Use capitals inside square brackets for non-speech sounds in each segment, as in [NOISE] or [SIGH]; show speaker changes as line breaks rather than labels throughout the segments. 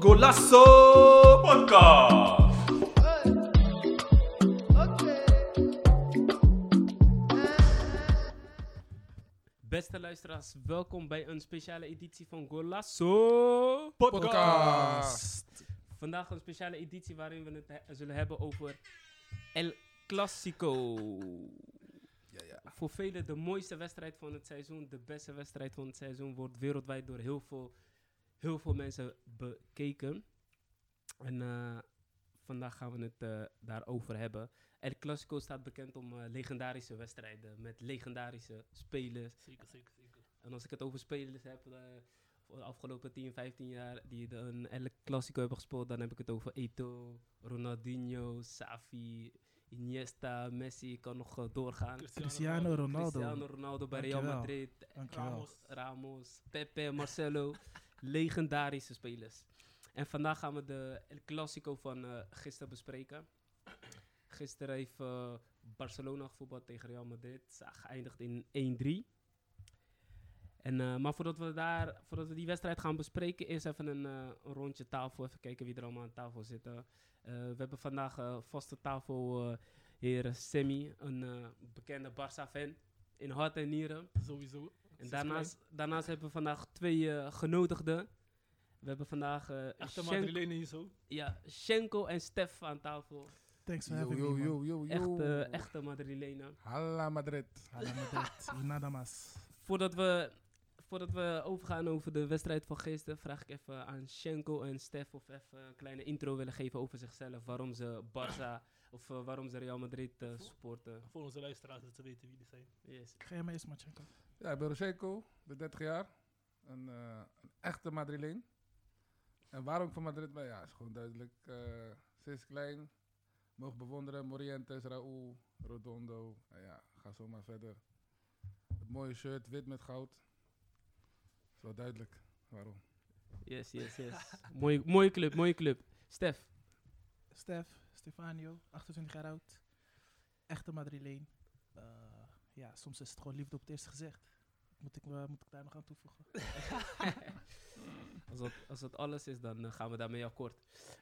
Golasso Podcast.
Beste luisteraars, welkom bij een speciale editie van Golasso Vandaag een speciale editie waarin we het he- zullen hebben over El Clasico. Voor velen de mooiste wedstrijd van het seizoen, de beste wedstrijd van het seizoen, wordt wereldwijd door heel veel, heel veel mensen bekeken. En eh, vandaag gaan we het eh, daarover hebben. El Clasico staat bekend om eh, legendarische wedstrijden met legendarische spelers.
Zeker, zeker, zeker.
En als ik het over spelers heb, eh, voor de afgelopen 10, 15 jaar, die de- een El Clasico hebben gespeeld, dan heb ik het over Eto, Ronaldinho, Safi, Iniesta, Messi, ik kan nog eh, doorgaan.
Cristiano Ronaldo.
Cristiano Ronaldo bij Real
Dankjewel.
Madrid,
Dankjewel.
Ramos.
Ramos, Pepe, Marcelo, legendarische spelers. En vandaag gaan we de El Clasico van eh, gisteren bespreken. Gisteren heeft eh, Barcelona gevoetbald tegen Real Madrid. Ze zijn geëindigd in 1-3. En, eh, maar voordat we, daar, voordat we die wedstrijd gaan bespreken, eerst even een eh, een rondje tafel. Even kijken wie er allemaal aan tafel zitten. Eh, we hebben vandaag eh, vaste tafel eh heer Semi, een eh, bekende Barça-fan. In hart en nieren.
Sowieso.
En daarnaast, daarnaast hebben we vandaag twee eh, genodigden. We hebben vandaag eh,
Echte
Shen-
Madrilenen hier zo.
ja, Schenko en Stef aan tafel.
Thanks for
Yo,
having
yo,
me, man.
yo, yo, yo.
Echt, eh, echte Madrilenen.
Hala Madrid.
Hala
[LAUGHS]
Madrid. Y nada más.
Voordat we, voordat we overgaan over de wedstrijd van gisteren, vraag ik even aan Schenko en Stef of even een kleine intro willen geven over zichzelf. Waarom ze Barça of eh, waarom ze Real Madrid eh, supporten.
Voor onze luisteraars, dat ze weten wie die zijn.
Yes.
Ga jij maar eerst, Machenko.
Ja, ik ben Roseco, ik ben 30 jaar. Een, eh, een echte Madrileen. En waarom ik van Madrid ben, ja, is gewoon duidelijk. Eh, sinds klein mogen bewonderen Morientes, Raúl, Rodondo. En ja, ga zo maar verder. Het mooie shirt, wit met goud. Is wel duidelijk waarom.
Yes, yes, yes. mooie, mooie club, mooie club. Stef,
Stef, Stefanio, 28 jaar oud. Echte Madrileen. Eh, ja, soms is het gewoon liefde op het eerste gezicht. Moet ik, me- moet ik daar nog aan toevoegen?
als dat, als dat alles is, dan eh, gaan we daarmee akkoord.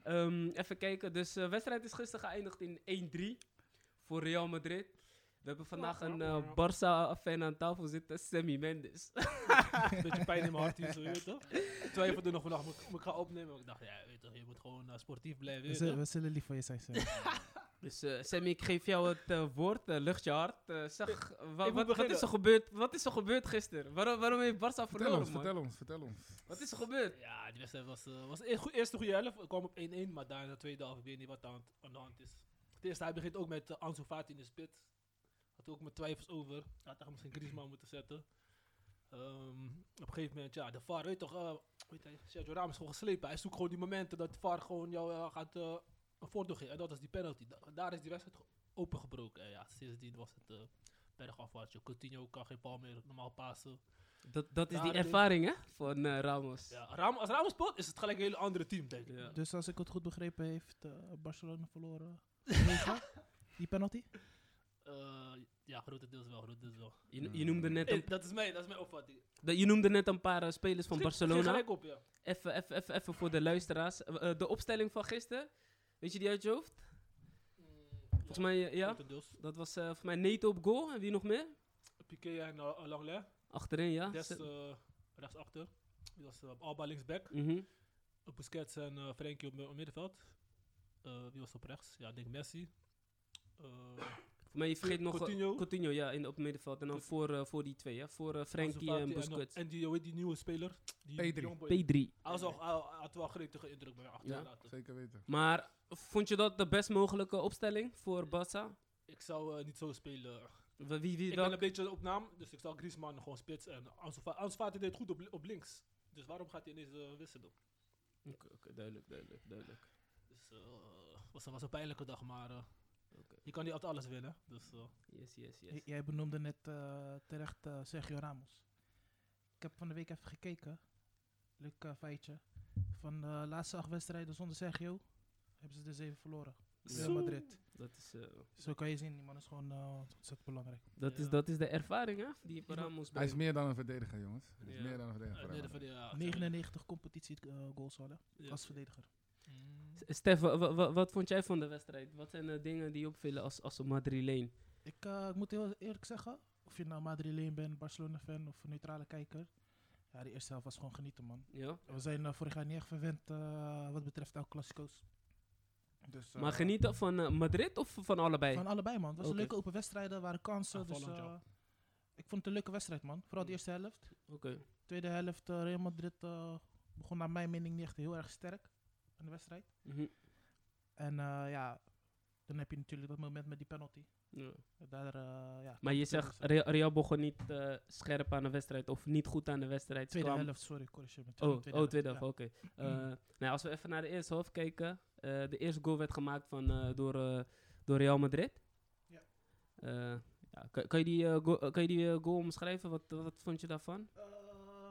Ehm, even kijken. Dus de wedstrijd is gisteren geëindigd in 1-3 voor Real Madrid. We hebben vandaag een eh, Barça-fan aan tafel zitten, Sammy Mendes. [LAUGHS]
Beetje pijn in mijn hart hier zo, je weet toch? Ik twijfelde nog vandaag moet ik- moet ik gaan opnemen. maar Ik dacht, ja, weet toch, je moet gewoon eh, sportief blijven.
We,
weet
zullen,
toch?
we zullen lief voor je zijn, Sam.
Dus eh, Sammy, ik geef jou het eh, woord. eh, lucht je hart. Eh, zeg, wa-
moet
wat, wat,
beginnen.
is er gebeurd, wat is er gebeurd gisteren? Waarom, waarom heeft Barça
Vertel
verloren,
ons,
man?
vertel ons, vertel ons.
Wat is er gebeurd?
Ja, die wedstrijd was, eh, was een goe- eerste goede helft. Ik kwam op 1-1, maar daarna de tweede helft, ik weet niet wat aan, aan de hand is. Het eerste, hij begint ook met eh, Ansu Fati in de spits. Had ook mijn twijfels over. Had eigenlijk misschien Griezmann moeten zetten. Ehm, op een gegeven moment, ja, de VAR, weet toch, eh weet hij, Sergio Ramos is gewoon geslepen. Hij zoekt gewoon die momenten dat de VAR gewoon jou eh, gaat eh een voordeel geven. En dat is die penalty. Da- daar is die wedstrijd ge- opengebroken. En ja, sindsdien was het eh bergafwaarts. joh. Coutinho kan geen bal meer normaal passen.
Dat, dat is die
Daar-
ervaring, hè? Van eh, Ramos.
Ja, Ram, als Ramos speelt, is het gelijk een hele andere team, denk ik.
Ja.
[LAUGHS] Dus als ik het goed begrepen heeft eh, Barcelona
[LAUGHS]
verloren. Vanwege Die penalty?
Eh, ja, grotendeels wel, grotendeels wel.
Je, je noemde
Mm.
net een,
Eh, dat, is mijn, dat is mijn opvatting.
je noemde net een paar eh, spelers van
Schiet- schiet
Barcelona.
gelijk op, ja.
Even, even, even, even voor de luisteraars. Eh, eh, de opstelling van gisteren, weet je die uit je hoofd? Volgens mij, eh, ja.
Mm, Grotendeels.
Dat was eh volgens mij Neto op goal. En wie nog meer?
Piqué en uh, Langley.
Achterin, ja.
Des
Ah, Ze-
eh, rechtsachter. Dat was eh, Alba linksback.
Mhm.
Busquets en eh, Frenkie op, mi- op middenveld. Eh, wie was op rechts? Ja, ik denk Messi. Eh,
Voor mij, je vergeet nog... eh,
Coutinho.
Coutinho, ja, in, op het middenveld. En dan
Dus-
voor, eh, voor die twee, hè. Voor eh, Frenkie
Ansu Fati
en
eh,
Busquets.
En die, hoe heet die nieuwe speler. Die
Pedri.
jongboy.
P3.
Hij was al- hij had wel gretige indruk bij achter.
Ja.
inderdaad.
Zeker weten.
Maar vond je dat de best mogelijke opstelling voor Barca?
Ik zou eh, niet zo spelen.
Wie, wie, wie
Ik ben
welk-
een beetje op naam, dus ik zal Griezmann gewoon spits. En Ansu Fa- Ansu Fati deed goed op, li- op links. Dus waarom gaat hij ineens eh, wisselen?
Oké, oké, duidelijk, duidelijk, duidelijk.
Dus eh was, een- was een pijnlijke dag, maar eh,
Oké.
je kan niet altijd alles winnen. Dus eh,
Yes, yes,
J-
yes.
Jij benoemde net eh, terecht eh, Sergio Ramos. Ik heb van de week even gekeken. Leuk eh, feitje. Van de laatste acht wedstrijden zonder Sergio hebben ze er zeven dus verloren. Real
Zo.
Madrid.
Dat is, eh,
Zo kan je zien, die man is gewoon eh, ontzettend belangrijk.
dat is,
Ja.
dat is de ervaring, hè? Die Paramos
Hij is meer dan een verdediger, jongens. Hij is
Ja.
meer dan een verdediger.
nee,
voor
dat
hem.
vind ik- ja,
99 competitie eh, goals hadden
Ah, ja.
als verdediger.
Mm.
Stef, wa- wa- wa- wat vond jij van de wedstrijd? Wat zijn de dingen die opvielen als, als een Madrileen?
Ik, eh, ik moet heel eerlijk zeggen, of je nou Madrileen bent, Barcelona-fan of een neutrale kijker. Ja, de eerste helft was gewoon genieten, man.
Ja?
We zijn eh, vorig jaar niet echt verwend eh, wat betreft El Clasico's. Dus, eh,
Maar genieten van eh, Madrid of van allebei?
Van allebei, man. Het was
Oké.
een leuke open wedstrijden, waren kansen. dus,
Aanvallend,
eh,
ja.
ik vond het een leuke wedstrijd, man. Vooral de
Mm.
eerste helft.
Oké.
Tweede helft, eh, Real Madrid eh, begon naar mijn mening niet echt heel erg sterk aan de wedstrijd.
Mhm.
En eh, ja, dan heb je natuurlijk dat moment met die penalty.
Ja.
Daar, eh, ja,
Maar je
komt het
zegt,
in.
Real, Real begon niet eh, scherp aan de wedstrijd of niet goed aan de wedstrijd.
Tweede
kwam-
helft, sorry, corrigeer me.
Oh, oh, tweede
ja.
helft,
Mhm.
oké. Eh, nou, als we even naar de eerste helft kijken. eh, de eerste goal werd gemaakt van, eh, door, eh, door Real Madrid.
Ja.
Eh, ja, kan, kan je die, eh, goal, kan je die eh, goal omschrijven? Wat, wat vond je daarvan?
Eh,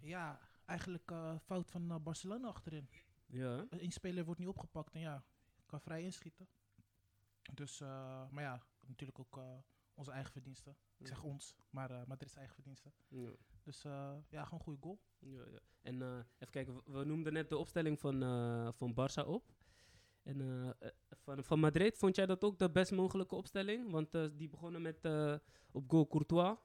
ja, eigenlijk eh, fout van eh, Barcelona achterin.
Ja. hè?
Eén speler wordt niet opgepakt en ja, kan vrij inschieten. Dus, eh, maar ja, natuurlijk ook eh, onze eigen verdiensten. Ik zeg ons, maar eh Madrid's eigen verdiensten.
Ja.
Dus eh, ja, gewoon een goede goal.
Ja, ja. En eh, even kijken, we- we noemden net de opstelling van, eh, van Barça op. En eh, eh, van, van Madrid, vond jij dat ook de best mogelijke opstelling? Want eh, die begonnen met eh, op goal Courtois.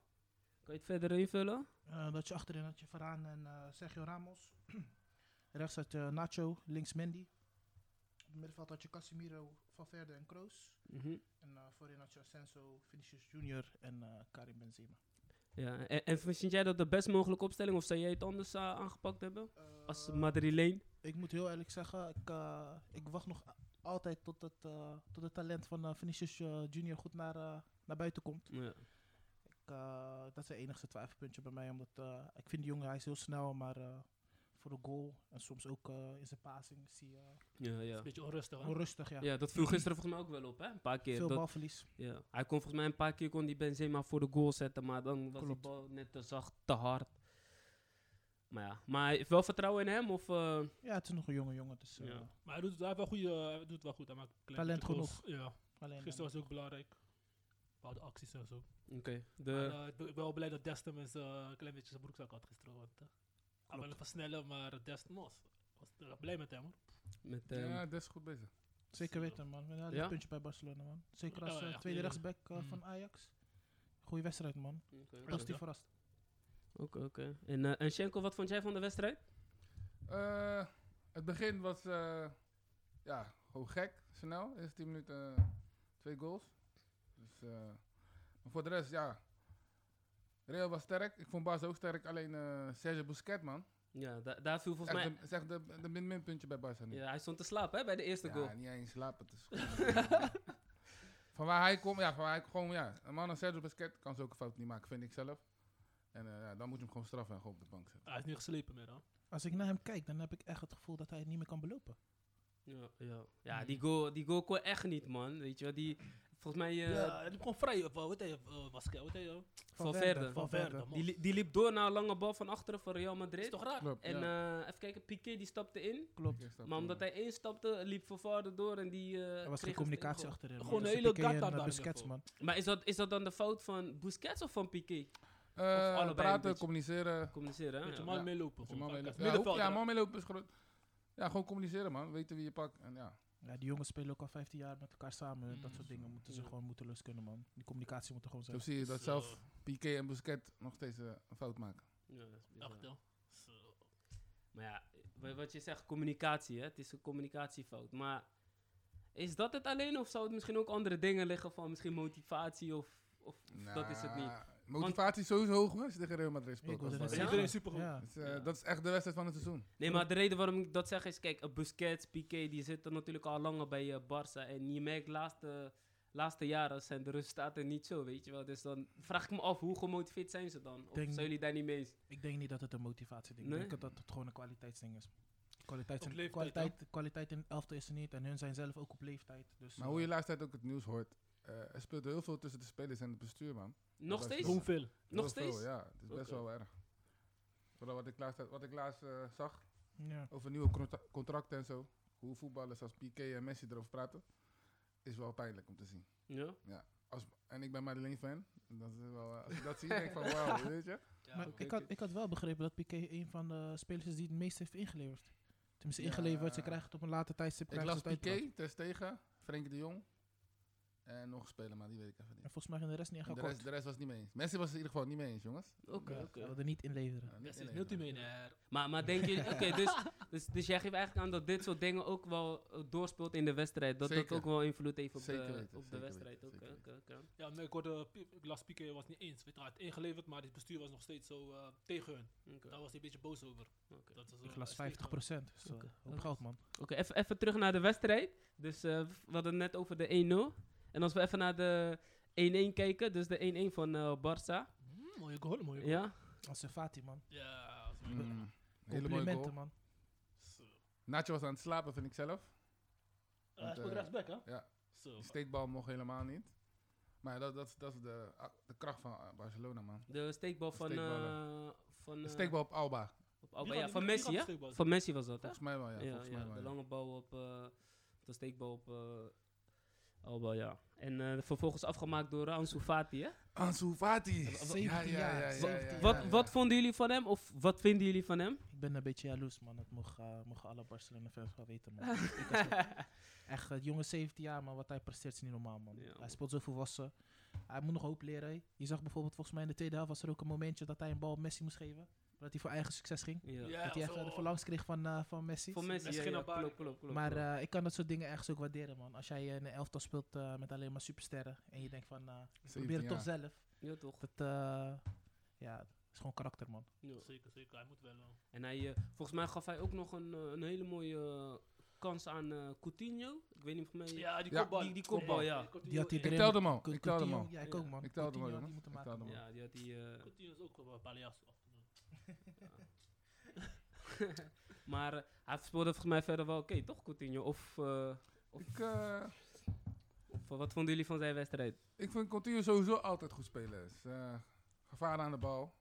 Kan je het verder invullen?
Eh, dat je achterin had je Varaan en eh, Sergio Ramos. [CLEARS THROAT] Rechts had je Nacho, links Mendy. Op het middenveld had je Casemiro, Valverde en Kroos. En eh, voorin had je Asensio, Vinicius Junior en eh, Karim Benzema.
Ja, en, en vind jij dat de best mogelijke opstelling? Of zou jij het anders eh, aangepakt hebben? Als
Eh,
Madrileen?
Ik moet heel eerlijk zeggen, ik, eh, ik wacht nog a- altijd tot het, eh, tot het talent van eh, Vinicius eh, Junior goed naar, eh, naar buiten komt.
Ja.
Ik, eh, dat is het enige twijfelpuntje bij mij. Omdat eh, ik vind die jongen, hij is heel snel, maar eh, voor de goal en soms ook eh, in zijn passing is hij eh,
Ja,
Is
ja.
een beetje onrustig, hè?
onrustig. Ja.
ja, dat viel gisteren volgens mij ook wel op, hè? Een paar keer.
Veel
dat-
balverlies.
Ja. Hij kon volgens mij een paar keer kon die Benzema voor de goal zetten, maar dan was de
Klopt.
bal net te zacht, te hard. Maar ja, maar hij heeft wel vertrouwen in hem of... eh,
Ja, het is nog een jonge jongen. Dus, eh,
Ja.
Maar hij doet, het- hij heeft wel goede, hij doet het wel goed. Hij maakt een klein
Talent
beetje goals. Ja.
alleen, eh,
Gisteren was ook belangrijk. Bepaalde acties en zo.
Oké,
Maar,
de...
eh, ik ben wel blij dat Destem eens, eh, een klein beetje zijn broekzak had gisteren. Want, eh, hij wilde versnellen, maar Destem was, was eh, blij met hem. Hoor.
Met, ehm,
Ja, dat is goed bezig.
Zeker weten, man. Een heel
Ja?
puntje bij Barcelona, man. Zeker als
Ja,
eh,
echt,
tweede
eh,
rechtsback eh,
mm.
van Ajax. Goeie wedstrijd, man.
Oké,
Klopt,
Positief
ja.
verrast.
oké, oké. En, eh, en Schenko, wat vond jij van de wedstrijd?
Eh, het begin was eh, ja, gewoon gek, snel. Eerst 10 minuten eh, twee goals. Dus, eh, maar voor de rest, ja. Real was sterk. Ik vond Barca ook sterk. Alleen eh Serge Busquets, man.
Ja, da- daar viel
Echt
volgens mij...
de- is echt de, de min-minpuntje bij Barca nu.
Ja, hij stond te slapen hè, bij de eerste
Ja,
goal.
niet eens slapen. Het is gewoon- [LAUGHS] van waar hij komt, ja, van waar hij gewoon, ja. Een man als Sergio Busquets kan zulke fouten niet maken, vind ik zelf. En eh, ja, dan moet je hem gewoon straffen en gewoon op de bank zetten.
Hij is niet geslepen meer. Hè?
Als ik naar hem kijk, dan heb ik echt het gevoel dat hij het niet meer kan belopen.
Ja, ja. ja die, goal, die goal kon echt niet, man. Weet je wel, die... Volgens mij... eh,
ja, hij liep gewoon vrij op. eh, Hoe heet hij? eh, Vasquez, hoe heet hij? eh? Valverde,
Valverde.
Valverde.
man.
die, li- die liep door naar een lange bal van achteren voor Real
is
Madrid.
toch raar?
Klopt,
En
ja.
eh, even kijken, Piqué die stapte in.
Klopt.
Ik snap
Maar
het
omdat
wel.
hij instapte, liep Vervaarder door en die... eh,
Er
kreeg
was geen
een
communicatie
steekbal.
achterin. man.
Gewoon
Dus
een hele
Piqué en,
gata
eh,
daar in
Busquets,
ieder
man.
Maar is dat, is dat dan de fout van Busquets of van Piqué?
Eh,
allebei een
praten,
beetje.
communiceren.
Communiceren, hè?
Met je
Ja.
man
Ja.
meelopen.
Met je
gewoon
man
vaak.
meelopen. Ja, hoe-
Middenveld,
ja,
hè?
man meelopen is groot. Ja, gewoon communiceren, man. Weten wie je pakt. En ja,
Ja, die jongens spelen ook al 15 jaar met elkaar samen.
Mm.
Dat soort dingen moeten ze
Ja.
gewoon moeten los kunnen, man. Die communicatie moet er gewoon
zo
zijn.
zie je dat
Zo.
zelf
eh,
Piqué en Busquets nog steeds eh, een fout maken.
Ja, dat is bizar.
Echt, hè? Zo.
Maar ja, wa- wat je zegt, communicatie, hè? Het is een communicatiefout. Maar is dat het alleen of zou het misschien ook andere dingen liggen van misschien motivatie of, of of dat is het niet?
Nou, Motivatie is sowieso hoog, man. Als je tegen Real Madrid speelt.
Ik wilde
als
net
Barca.
zeggen.
Iedereen is supergoed.
Ja.
Dus, eh,
Ja.
Dat is echt de wedstrijd van het seizoen.
Nee, maar de reden waarom ik dat zeg is, kijk, eh, Busquets, Piqué, die zitten natuurlijk al langer bij eh Barça. En je merkt laatste, laatste jaren zijn de resultaten niet zo, weet je wel. Dus dan vraag ik me af, hoe gemotiveerd zijn ze dan? Of
Denk-
zijn jullie daar niet mee eens?
Ik denk niet dat het een motivatieding is.
Nee?
Ik denk dat het gewoon een kwaliteitsding is. Kwaliteit,
Op
zijn-
leeftijd,
kwaliteit, kwaliteit in het elftal is er niet. En hun zijn zelf ook op leeftijd. Dus
Maar
eh,
hoe je laatst tijd ook het nieuws hoort, eh, er speelt heel veel tussen de spelers en het bestuur, man.
Nog
was
steeds?
dom.
Hoeveel?
Nog
Heel
steeds?
Veel, ja, het is best
Oké.
wel erg. Vooral wat ik laatst, wat ik laatst eh, zag
ja.
over nieuwe contra- contracten en zo. Hoe voetballers als Piqué en Messi erover praten. is wel pijnlijk om te zien.
Ja?
Als, en ik ben Madeleine-fan. en Dat is wel, eh, als ik dat zie, denk ik van wauw, weet je.
Maar
oké,
ik, had,
oké.
ik had wel begrepen dat Piqué een van de spelers is die het meest heeft ingeleverd. Tenminste,
Ja.
ingeleverd. Ze krijgen het op een later tijdstip.
Ik
krijgen
las
ze het uitgebracht.
Piqué, Testegen, Frenkie de Jong. En nog een speler, maar die weet ik even
En
niet.
volgens mij zijn de rest niet
En
echt
De
akkoord.
rest, de rest was het niet mee eens. Messi was het in ieder geval niet mee eens, jongens. Eh,
Oké,
Ja.
oké.
Ze wilden niet inleveren.
Ja,
Dat is
iedereen.
multimiljonair.
Maar, maar denk
[LAUGHS]
je, oké, dus, dus, dus jij geeft eigenlijk aan dat dit soort dingen ook wel eh, doorspeelt in de wedstrijd. Dat
Zeker.
dat ook wel invloed heeft op
Zeker
de,
weten,
op de
zeker
wedstrijd.
weten,
Oké,
zeker
oké, oké.
Ja, maar ik hoorde, eh, Pi- ik las Piqué was niet eens. Weet je, hij had ingeleverd, maar het bestuur was nog steeds zo eh, tegen hun.
Oké,
Daar was hij een beetje boos over.
oké.
Dat is,
Ik
eh,
las 50%.
steeds gewoon-
Dus, eh,
Oké.
hoop geld, man.
Oké, even- even terug naar de wedstrijd. Dus eh, we hadden het net over de 1-0. En als we even naar de 1-1 kijken, dus de 1-1 van eh Barça.
Mm, mooie goal, mooie goal.
Ja?
Als Fati, man.
Ja, dat is Eh, mooi.
Mm, hele mooie
Complimenten,
goal.
man.
Zo.
Nacho was aan het slapen, vind ik zelf.
Eh, hij
Want,
speelt
eh,
rechtsback, hè?
ja.
Zo.
Die
oh,
steekbal mocht helemaal niet. Maar ja, dat, dat, dat is de, ah, de kracht van eh, Barcelona, man.
De steekbal van...
Steekballen.
eh, van
De
eh,
steekbal op Alba,
op
Wie
Alba.
gaat-
ja, van
wie- wie gaat
Messi, hè?
steekbal
Van Messi was dat, hè?
volgens mij wel,
Ja,
ja. volgens
ja,
mij wel,
de
ja.
lange bal op... eh, de steekbal op eh, Alba, ja. En eh, vervolgens afgemaakt door Ansu Fati, hè?
Ansu Fati.
17 jaar, 17 Ja,
Wat,
ja, ja.
wat vonden jullie van hem? Of wat vinden jullie van hem?
Ik ben een beetje jaloers, man. Dat mogen eh, mogen alle Barcelona-fans wel weten, man. Ik
[LAUGHS]
was ook echt, eh, jongen 17 jaar, maar wat hij presteert is niet normaal, man.
Ja,
hij
man.
speelt zo volwassen. Hij moet nog hoop leren. hè. Je zag bijvoorbeeld, volgens mij in de tweede helft was er ook een momentje dat hij een bal op Messi moest geven. Dat hij voor eigen succes ging.
ja.
dat hij echt
zo.
eh, de verlangs kreeg van, eh, van Messi.
Voor Messi, ja,
Misschien
ja,
een paar-
klopt, klopt, klopt.
maar
klopt.
eh, ik kan dat soort dingen ergens ook waarderen, man. Als jij eh, in een elftal speelt eh, met alleen maar supersterren. En je denkt van, eh, ik
17
probeer het toch
jaar.
zelf.
ja, toch?
Dat, eh, ja, dat is gewoon karakter, man.
Ja.
Zeker, zeker. Hij moet wel. eh,
En hij, eh, volgens mij gaf hij ook nog een, eh, een hele mooie eh, kans aan eh, Coutinho. Ik weet niet of mij...
Ja, die
Ja.
kopbal.
Die- die kopbal, ja.
Coutinho- eh,
Die had hij
Ik
erin.
telde hem al,
Cou-
ik telde hem
Coutinho,
al.
Ja, ik
Ja.
ook, man.
Ik telde hem
Coutinho,
al,
die
jongens.
moeten
Ik
maken,
telde hem
man.
Ja, die had die... eh,
Coutinho is ook wel een paar jaar afgenomen.
maar eh, hij speelde volgens mij verder wel oké, toch Coutinho? Of, eh, of,
Ik, eh,
of, eh, wat vonden jullie van zijn wedstrijd?
ik vind Coutinho sowieso altijd goed spelen. Is, eh, gevaar aan de bal.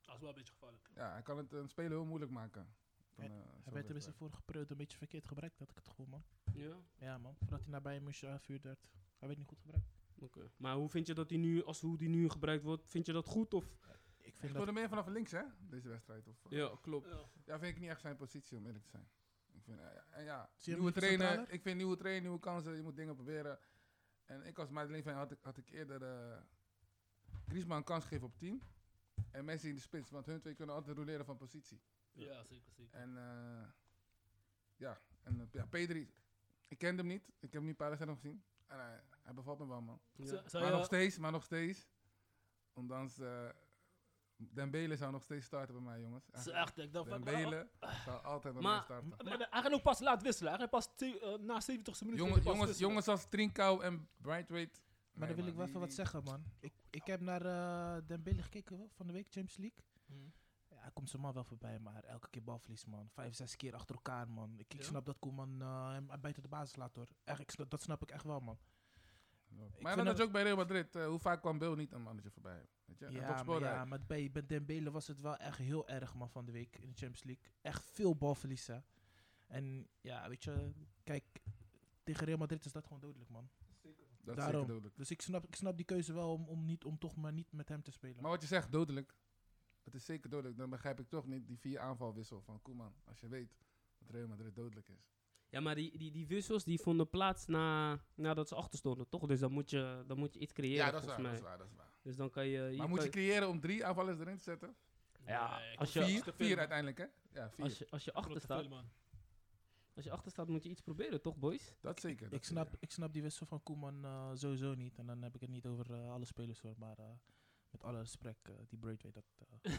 Dat is wel een beetje gevaarlijk.
Ja, hij kan het een speler heel moeilijk maken. Van, eh, zo'n
Hij werd er
wedstrijd.
in zijn vorige periode een beetje verkeerd gebruikt, had ik het gevoel, man.
Ja,
Ja, man. Voordat hij naar Bayern München afvuurd werd. Hij werd niet goed gebruikt.
oké. Maar hoe vind je dat hij nu, als hoe die nu gebruikt wordt, vind je dat goed of...
Ik vind
Hij
dat...
speelde meer vanaf links, hè? Deze wedstrijd. Of, eh,
Ja, klopt.
Ja.
Ja, vind ik niet echt zijn positie, om eerlijk te zijn. Ik vind, eh, ja, en ja,
Zie je hem
nieuwe
niet als
trainer.
centraler?
Ik vind nieuwe trainer, nieuwe kansen. Je moet dingen proberen. En ik als Madeleine fan had ik, had ik eerder eh Griezmann een kans gegeven op 10. En Messi in de spits. Want hun twee kunnen altijd roleren van positie.
ja, zeker, zeker.
En eh, ja, en eh, ja, Pedri. Ik kende hem niet. Ik heb hem niet een paar wedstrijden gezien. En hij, hij bevalt me wel, man.
Ja.
Zou
maar
je-
nog steeds, maar nog steeds. Ondanks... eh Dembele zou nog steeds starten bij mij, jongens.
Dat is echt, ik dacht van... Maar,
Dembele zou altijd bij mij
Maar-
starten.
maar hij kan ook pas laat wisselen. Hij kan pas te- eh, na 70 minuten
Jongen,
kan hij pas
jongens,
wisselen.
jongens als Trinkau en Brightweight.
Maar dan wil ik wel even wat zeggen, man. Ik, ik heb naar eh Dembele gekeken hoor, van de week, Champions League.
Hmm.
Ja, hij komt zijn man wel voorbij, maar elke keer balverlies, man. Vijf, zes keer achter elkaar, man. Ik, ik
Ja?
snap dat Koeman eh, hem buiten de basis laat, hoor. Echt, ik snap- dat snap ik echt wel, man. Ik
Maar
vind
dat
dat-
had je ook bij Real Madrid. eh, hoe vaak kwam Bill niet een mannetje voorbij? Weet je? En toch
Ja, maar,
speelde hij.
ja, maar bij, bij Dembele was het wel echt heel erg, man, van de week in de Champions League. Echt veel balverlies, hè. En ja, weet je, kijk, tegen Real Madrid is dat gewoon dodelijk, man.
Dat is
daarom.
zeker dodelijk.
Dus ik snap, ik snap die keuze wel om, om, niet, om toch maar niet met hem te spelen.
Maar wat je zegt, dodelijk. Het is zeker dodelijk. Dan begrijp ik toch niet die vier aanvalwissel van Koeman. Als je weet dat Real Madrid dodelijk is.
Ja, maar die, die, die wissels die vonden plaats na, nadat ze achter stonden, toch? Dus dan moet je, dan moet je iets creëren,
Ja, dat, is
volgens mij.
waar, dat is waar. Dat is waar.
Dus dan kan je... je
Maar moet
kan-
je creëren om drie aanvallers erin te zetten?
Ja,
ik
als
vind
je-
het
Vier,
te veel,
vier
man.
uiteindelijk, hè? Ja, vier.
Als je, als, je achter
Grote
staat,
veel, man.
als je achter staat, moet je iets proberen, toch, boys?
dat zeker. dat
ik, snap,
zeker.
ik snap die wissel van Koeman eh, sowieso niet. En dan heb ik het niet over eh, alle spelers hoor, maar eh, met alle respect, eh, die Braithwaite, dat...
[LAUGHS]
eh,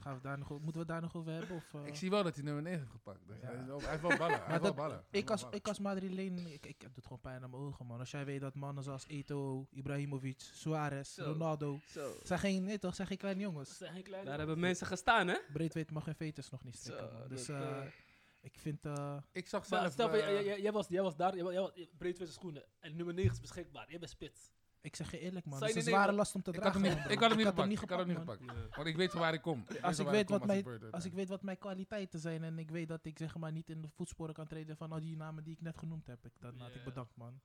gaan we daar nog, o- moeten we het daar nog over hebben? Of, eh?
Ik zie wel dat hij nummer 9 heeft gepakt. Dus
Ja.
hij, is wel, hij heeft wel ballen. Hij heeft wel
dat-
ballen. Hij heeft
Ik
wel
als,
ballen.
ik als Madrileen, ik, ik heb het gewoon pijn aan mijn ogen, man. Als jij weet dat mannen zoals Eto, Ibrahimovic, Suarez,
Zo.
Ronaldo...
Zo.
Zijn geen, nee toch, zijn geen kleine
Ze
jongens.
zijn geen kleine
Daar
man.
hebben mensen gestaan, hè?
Breedweight mag geen fetus nog niet strikken,
Zo,
man. Dus
dat,
eh,
eh.
ik vind... eh,
ik zag zelf...
Maar stel, voor,
eh,
jij, jij, jij was, jij was daar, jij, wa- jij was breed tussen schoenen. En nummer 9 is beschikbaar. Jij bent spits.
Ik zeg je eerlijk, man.
Zou
Het is
je niet
een zware
nemen?
last om te
Ik had
dragen.
hem niet,
man,
ik
bro.
had hem niet gepakt. Ik had hem niet
man.
gepakt. Want ik weet van waar ik kom.
Als ik
waar
weet
kom
wat
als
mijn,
ik Bird
als ik
ben.
weet wat mijn kwaliteiten zijn en ik weet dat ik zeg maar niet in de voetsporen kan treden van al die namen die ik net genoemd heb, ik, dan had ik
Ja.
bedankt man.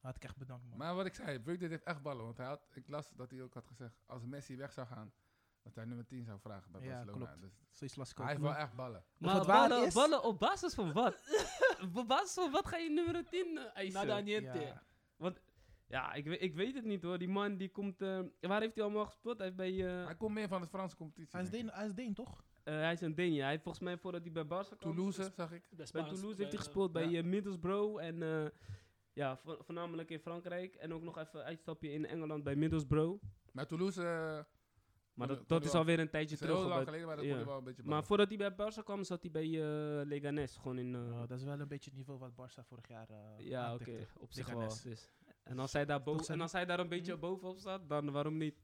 Had ik echt bedankt man.
Maar wat ik zei, Bird heeft echt ballen. Want hij had, ik las dat hij ook had gezegd, als Messi weg zou gaan, dat hij nummer 10 zou vragen bij
Ja,
Barcelona.
klopt.
Dus
Zoiets las ik
hij
ook.
heeft wel echt ballen.
Maar
Maar
het waar
ballen,
is-
ballen op basis van wat? op basis van wat ga je nummer 10 eh, eisen?
Nada niente.
Ja.
Ja, ik, we- ik weet het niet hoor. Die man die komt. eh, waar heeft hij allemaal gespeeld? Hij, heeft bij, eh,
Hij komt meer van de Franse competitie.
Hij is
denk ik.
Deen, hij is Deen toch?
eh, hij is een Deen. Hij heeft volgens mij voordat hij bij Barca kwam.
Toulouse, zag ik.
Bij
Bij
Spaans,
Toulouse
bij,
heeft hij
eh,
gespeeld bij
ja.
eh, Middlesbrough en eh, ja, vo- voornamelijk in Frankrijk. En ook nog even uitstapje in Engeland bij Middlesbrough.
Maar Toulouse, eh,
Maar
Kon-
dat,
kon
dat
hij
is
wel-
alweer een tijdje
is heel
terug.
lang
hoor,
geleden, maar dat
ja.
kon hij wel een beetje
Maar
ballen.
voordat hij bij Barca kwam, zat hij bij eh Leganes. Gewoon in. eh,
Nou, dat is wel een beetje het niveau wat Barça vorig jaar eh
ja, oké.
aantikte.
op zich wel.
Leganes.
Dus. En, als hij daar boven,
zijn
en
die-
als hij daar een beetje bovenop staat, dan waarom [LAUGHS] niet?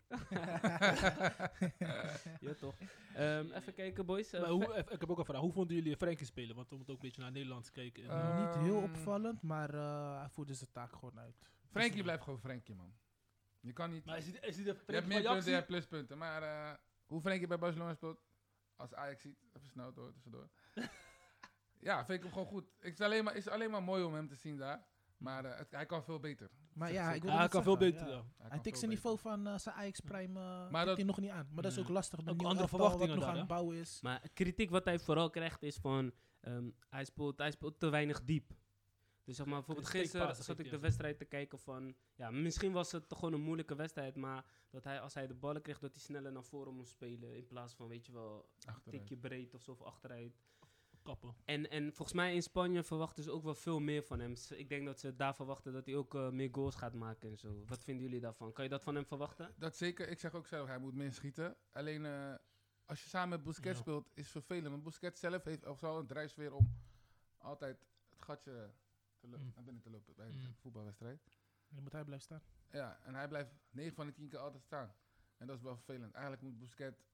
ja, toch. Ehm, even kijken, boys. Eh,
Maar hoe,
Fe-
eh, ik heb ook een vraag. Hoe vonden jullie Frenkie spelen? Want we moeten ook een beetje naar Nederlands kijken. En-
Eh,
Niet heel
Ehm.
opvallend, maar eh, hij voerde zijn taak gewoon uit.
Frenkie blijft gewoon Frenkie, man. Je kan niet...
maar is hij is hij de
Je hebt
Frenkie
meer
van
punten, je hebt
Jaxi?
pluspunten. Maar eh, hoe Frenkie bij Barcelona speelt, als Ajax ziet, even snel
[LAUGHS]
door, tussendoor. ja, vind ik hem gewoon goed. Het is alleen maar, is alleen maar mooi om hem te zien daar. Maar eh, het- hij kan veel beter.
Maar
Zeker,
ja, ik
zeker.
wil
Ja,
het
hij kan veel
zeggen,
beter.
ja.
ja.
kan
Hij tikt
veel
zijn
beter.
niveau van eh, zijn Ajax
Mm.
Prime eh, tikt
dat-
hij nog niet aan. Maar dat is ook
Nee.
lastig. De
Mm. Ook
nieuwe
andere
elftal
verwachtingen
wat nog
daar,
aan
hè?
het bouwen is.
Maar kritiek wat hij vooral krijgt is van ehm, hij, speelt, hij speelt te weinig diep. Dus zeg maar, bijvoorbeeld
steekpaas
gisteren
geeft
zat
hij
ik de
af.
wedstrijd te kijken van... Ja, misschien was het gewoon een moeilijke wedstrijd, maar dat hij, als hij de ballen kreeg, dat hij sneller naar voren moest spelen. In plaats van, weet je wel,
Achteruit.
tikje breed of zo, of achteruit.
Kappen.
En, en volgens mij in Spanje verwachten ze ook wel veel meer van hem. Ze- Ik denk dat ze daar verwachten dat hij ook eh, meer goals gaat maken en zo. Wat vinden jullie daarvan? Kan je dat van hem verwachten?
Dat zeker. Ik zeg ook zelf, hij moet meer schieten. Alleen eh, als je samen met Busquets
Ja.
speelt, is het vervelend. Want Busquets zelf heeft ook zo een drijfsfeer om altijd het gatje te lo-
Mm.
naar binnen te lopen bij een
Mm.
voetbalwedstrijd.
Dan moet hij blijven staan.
Ja, en hij blijft 9 van de 10 keer altijd staan. En dat is wel vervelend. Eigenlijk moet Busquets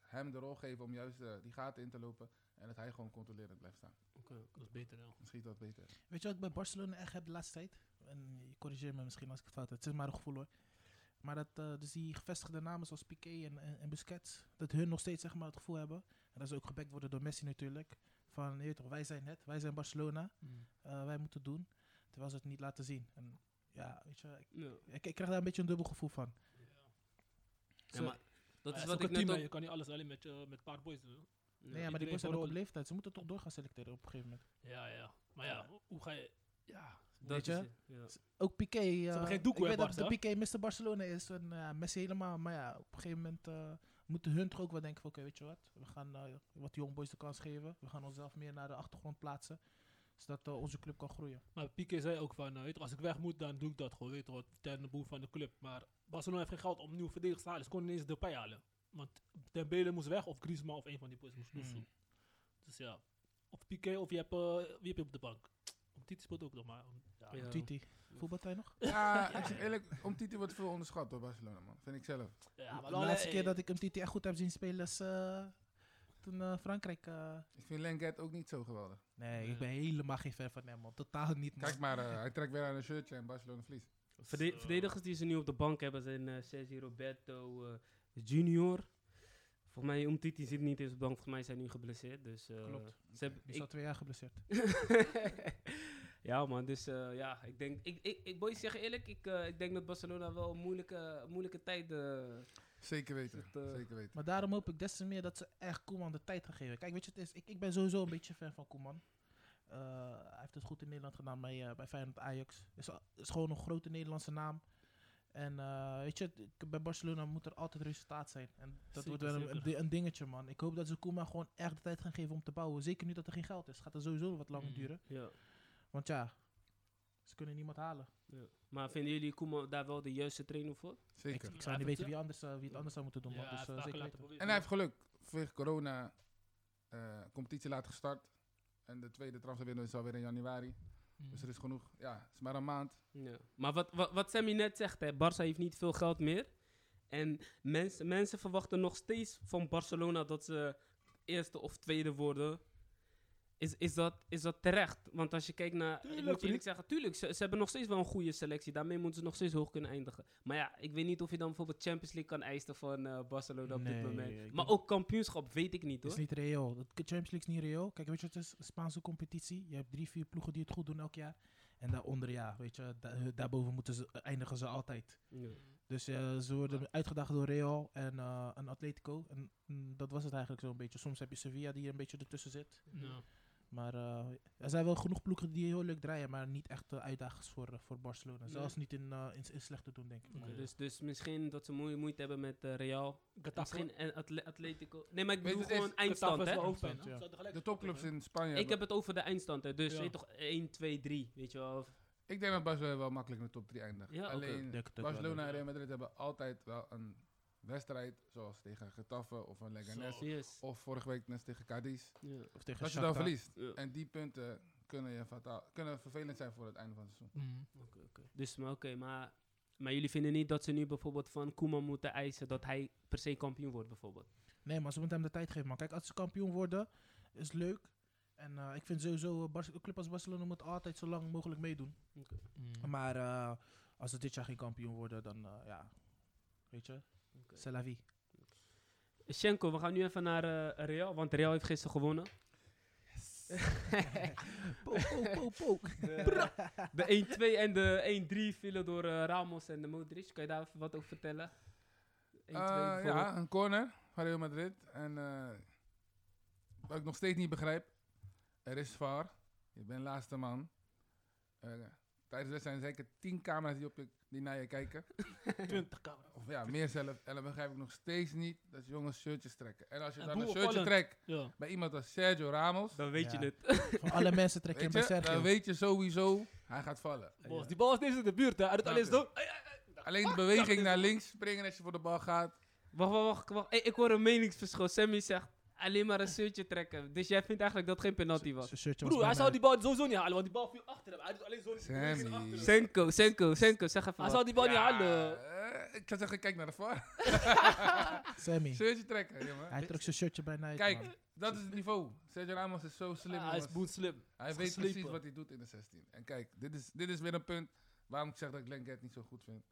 hem de rol geven om juist eh, die gaten in te lopen. En dat hij gewoon controlerend blijft staan.
Dat is beter, ja.
Misschien wat beter.
Weet je wat ik bij Barcelona echt heb de laatste tijd? En je corrigeer me misschien als ik het fout heb. Het is maar een gevoel hoor. Maar dat eh, dus die gevestigde namen zoals Piqué en, en, en Busquets, dat hun nog steeds zeg maar, het gevoel hebben. En dat ze ook gebekt worden door Messi natuurlijk. Van, je weet toch, wij zijn het, wij zijn Barcelona, eh, wij moeten doen. Terwijl ze het niet laten zien. En ja, weet je, ik,
Ja,
ik, ik krijg daar een beetje een dubbel gevoel van.
ja maar dat
Maar
is
het
wat
ook
ik
een
net
team, hè.
ook...
Je kan niet alles alleen met, eh, met een paar boys doen.
Nee, ja, maar
iedereen
die boys zijn al op
verrokkelijk.
leeftijd. Ze moeten toch door gaan selecteren op een gegeven moment.
Ja, ja. Maar ja, hoe ga je... Ja.
dat
weet
is
je?
het, ja.
Ook Piqué. eh,
hebben geen doekoe,
ik
hè,
weet dat
Barca?
de Piqué Mr. Barcelona is en eh, Messi helemaal. Maar ja, op een gegeven moment eh, moeten hun toch ook wel denken van... Oké, weet je wat? We gaan eh, wat jongboys de kans geven. We gaan onszelf meer naar de achtergrond plaatsen. Zodat eh, onze club kan groeien.
Maar Piqué zei ook van, eh, weet je, als ik weg moet, dan doe ik dat gewoon, weet je, wat, ten behoeve van de club. Maar Barcelona heeft geen geld om nieuwe verdedigers te halen. Ze konden ineens Depay halen. Want Dembele moest weg, of Griezmann, of een van die boys moest lossen.
Hmm.
Dus ja, of Piqué, of je hebt, eh, wie heb je op de bank? Titi speelt ook nog maar. Ja,
Ja.
Titi, voetbalt hij nog?
Ja, ik zeg eerlijk, om Titi wordt veel onderschat door Barcelona, man. Vind ik zelf.
Ja, maar
de
wel,
laatste
eh,
keer dat ik hem Titi echt goed heb zien spelen is... eh, toen eh, Frankrijk... eh,
Ik vind Lenglet ook niet zo geweldig.
nee,
Nee.
ik ben helemaal geen fan van hem, man. Totaal niet, man.
Kijk maar, eh, hij trekt weer aan een shirtje en Barcelona verliest.
Verde-
eh, Zo.
verdedigers die ze nu op de bank hebben zijn eh Sergio Roberto eh, Junior. Volgens mij Umtiti zit niet eens op de bank. Volgens mij zijn nu geblesseerd. Dus, eh,
Klopt.
Ze hebben,
Die is al
ik-
twee jaar geblesseerd.
[LAUGHS] ja man, dus eh, ja, ik denk... Ik, ik, ik boys zeggen eerlijk, ik, eh, ik denk dat Barcelona wel moeilijke, moeilijke eh, tijden...
Zeker weten,
Is het, eh,
zeker weten.
Maar daarom hoop ik des te meer dat ze echt Koeman de tijd gaan geven. Kijk, weet je, het is, ik, ik ben sowieso een beetje fan van Koeman. Eh, hij heeft het goed in Nederland gedaan bij, eh, bij Feyenoord Ajax. Is, al- is gewoon een grote Nederlandse naam. En eh, weet je, het- ik- bij Barcelona moet er altijd resultaat zijn. En dat
Zeker,
wordt wel een, een
zeker.
di- een dingetje, man. Ik hoop dat ze Koeman gewoon echt de tijd gaan geven om te bouwen. Zeker nu dat er geen geld is. Gaat er sowieso wat langer
Mm.
duren.
Ja.
Want ja, ze kunnen niemand halen.
Maar vinden jullie Koeman daar wel de juiste trainer voor?
Ik,
Zeker.
ik
Ja,
zou niet
dat-
weten wie, anders, eh, wie het anders zou moeten doen.
ja,
man.
hij
dus,
heeft
eh,
vaker
zeker
laten
weten.
proberen.
En hij heeft geluk. Vanwege corona, eh competitie laat gestart. En de tweede transferwindow is alweer in januari.
Mm.
Dus er is genoeg. Ja, het is maar een maand.
Ja. Maar wat, wat, wat Sammy net zegt, hè, Barça heeft niet veel geld meer. En mensen mensen verwachten nog steeds van Barcelona dat ze eerste of tweede worden. Is, is, dat, is dat terecht? Want als je kijkt naar. ik
Tuurlijk,
moet je eerlijk
vriend.
zeggen, tuurlijk, ze, ze hebben nog steeds wel een goede selectie. Daarmee moeten ze nog steeds hoog kunnen eindigen. Maar ja, ik weet niet of je dan bijvoorbeeld Champions League kan eisen van eh, Barcelona op
Nee,
dit
ik
moment. Maar
denk-
ook kampioenschap weet ik niet
Het is
hoor.
niet reëel. De Champions League is niet reëel. Kijk, weet je, het is een Spaanse competitie. Je hebt drie, vier ploegen die het goed doen elk jaar. En daaronder, ja, weet je, da- eh, daarboven moeten ze, eindigen ze altijd.
Ja.
Dus eh, ze worden uitgedaagd door Real en eh, een Atletico. En mm, dat was het eigenlijk zo'n beetje. Soms heb je Sevilla die er een beetje ertussen zit.
Ja.
Maar eh, er zijn wel genoeg ploegen die heel leuk draaien, maar niet echt eh, uitdagers voor, eh, voor Barcelona.
Nee.
Zelfs niet in, eh, in, in slecht te doen, denk ik.
Oké.
Dus, dus misschien dat ze moe- moeite hebben met eh, Real.
Getafe
Misschien en Atle- Atletico. Nee, maar ik
Weet
bedoel
je, het is-
gewoon eindstand.
is
Hè?
wel hoofdpijn.
Eindstand,
hè?
ja.
Zou tegelijk
De topclubs
spelen,
in Spanje.
Ik heb
hebben-
het over de eindstand. Hè? Dus
Ja.
weet je toch 1, 2, 3. Weet je wel.
ik denk dat Barcelona wel makkelijk in de top 3 eindigt.
Ja, oké.
Alleen
Denk het ook wel,
Barcelona
ja.
en Real Madrid hebben altijd wel een wedstrijd. Zoals tegen Getafe of een Leganes.
Zo.
Yes.
Of vorige week net tegen Cadiz.
Ja.
Of tegen
Dat je dan
Shakhtar.
verliest.
Ja.
En die punten kunnen, je fataal, kunnen vervelend zijn voor het einde van het seizoen.
hè? Mm.
Dus, maar oké, maar, maar jullie vinden niet dat ze nu bijvoorbeeld van Koeman moeten eisen dat hij per se kampioen wordt, bijvoorbeeld?
Nee, maar ze moeten hem de tijd geven, man. Kijk, als ze kampioen worden, is leuk. En eh, ik vind sowieso, eh, Bar- een club als Barcelona moet altijd zo lang mogelijk meedoen.
Mm.
Maar eh, als ze dit jaar geen kampioen worden, dan eh, ja, weet je, c'est la vie.
Schenko, we gaan nu even naar eh, Real, want Real heeft gisteren gewonnen.
Pook, pook, pook, [LAUGHS]
[LAUGHS]
pook.
De, de 1-2 en de 1-3 vielen door eh, Ramos en de Modric. Kan je daar even wat over vertellen? 1-2
Eh,
bijvoorbeeld.
ja, een corner van Real Madrid. En eh, wat ik nog steeds niet begrijp, er is VAR. Je bent laatste man. Eh, tijdens de zijn zeker tien camera's die, op je, die naar je kijken.
20 camera's.
Of ja, meer zelf. En dan begrijp ik nog steeds niet dat jongens shirtjes trekken. En als je
En
dan
hoe
een shirtje
opvallend.
trekt
Ja.
bij iemand als Sergio Ramos,
Dan weet
Ja.
je het.
Van alle mensen trek je hem
weet
bij
je, dan
Sergio.
weet je sowieso, hij gaat vallen.
Bos, die bal is deze in de buurt, hè? Hij doet
Snap
alleen
je?
zo.
Alleen de beweging naar links, springen als je voor de bal gaat.
Wacht, wacht, wacht. wacht. Hey, ik hoor een meningsverschil. Sammy zegt alleen maar een shirtje trekken. Dus jij vindt eigenlijk dat geen penalty was?
Zijn shirtje was
Broer, hij
bijna
zou die bal sowieso niet halen, want die bal viel achter hem. Hij doet alleen zo. die
Sammy.
beweging achter hem.
Senko, Senko, Senko, zeg even
Hij
wat.
zou die bal niet
Ja,
halen.
eh, ik zou zeggen, kijk naar de VAR.
uit. Sammy,
Shirtje trekken, jongen.
hij trok zijn shirtje bijna uit, man.
Kijk, dat is het niveau. Sergio Ramos is zo slim.
Ah, hij is
jongens.
boet slim.
hij
is
weet
geslepen.
precies wat hij doet in de 16. En kijk, dit is, dit is weer een punt waarom ik zeg dat ik Lenglet niet zo goed vind.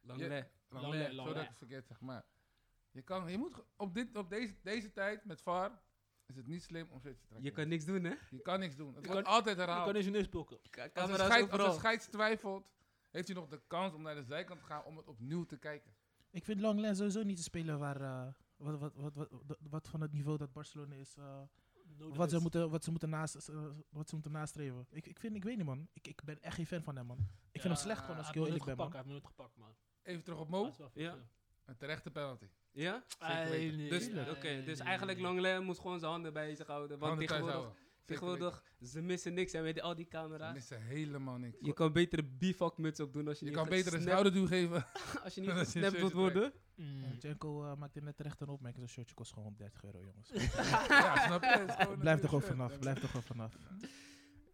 Langlet.
Langley,
Langley,
Zo dat
Langley.
ik het verkeerd zeg. Maar je, kan, je moet ge- op, dit, op deze, deze tijd met VAR is het niet slim om shirtje te trekken.
Je kan niks doen, hè?
je kan niks doen. Het
Je
wordt
kan-
altijd
Je kan
herhaald.
eens je neus blokken.
Als een, scheid, als een scheids twijfelt, heeft hij nog de kans om naar de zijkant te gaan om het opnieuw te kijken.
Ik vind Langlen sowieso niet te spelen waar, eh, wat, wat, wat, wat, wat- wat van het niveau dat Barcelona is... eh,
Nodig
Wat ze,
is.
moeten, wat, ze moeten naast, eh, wat ze moeten nastreven. Ik, ik, vind, ik weet niet, man. Ik, ik ben echt geen fan van hem, man. Ik vind hem
Ja,
slecht, gewoon, als
hij
ik heel
heeft
eerlijk
me
ben,
nooit
man.
gepakt, man. Oh,
Even terug op
Hij
Mo.
is wel
Ja.
fit,
Een terechte penalty.
Ja?
Zeker weten.
Ei, nee.
Dus,
Ei,
oké, dus eigenlijk
nee.
Langlet moet gewoon zijn handen bij zich houden. Want
Handen thuis
tegenwoordig,
houden. Zeker weten.
tegenwoordig, ze missen niks en met al die
Ze
camera's.
missen helemaal niks.
Je kan beter een bivakmuts op doen als je
Je
niet
kan beter een
gesnapt-
schouderduw geven.
[LAUGHS] als je niet
dan is je
gesnapt wilt
shirtje
worden.
Ja,
Mm.
Janko eh, maakte net terecht een opmerking. Zo'n shirtje kost gewoon 30 euro, jongens.
ja, snap je? Het is gewoon
Blijf
een
er gewoon
shirt.
vanaf. Blijf er gewoon vanaf.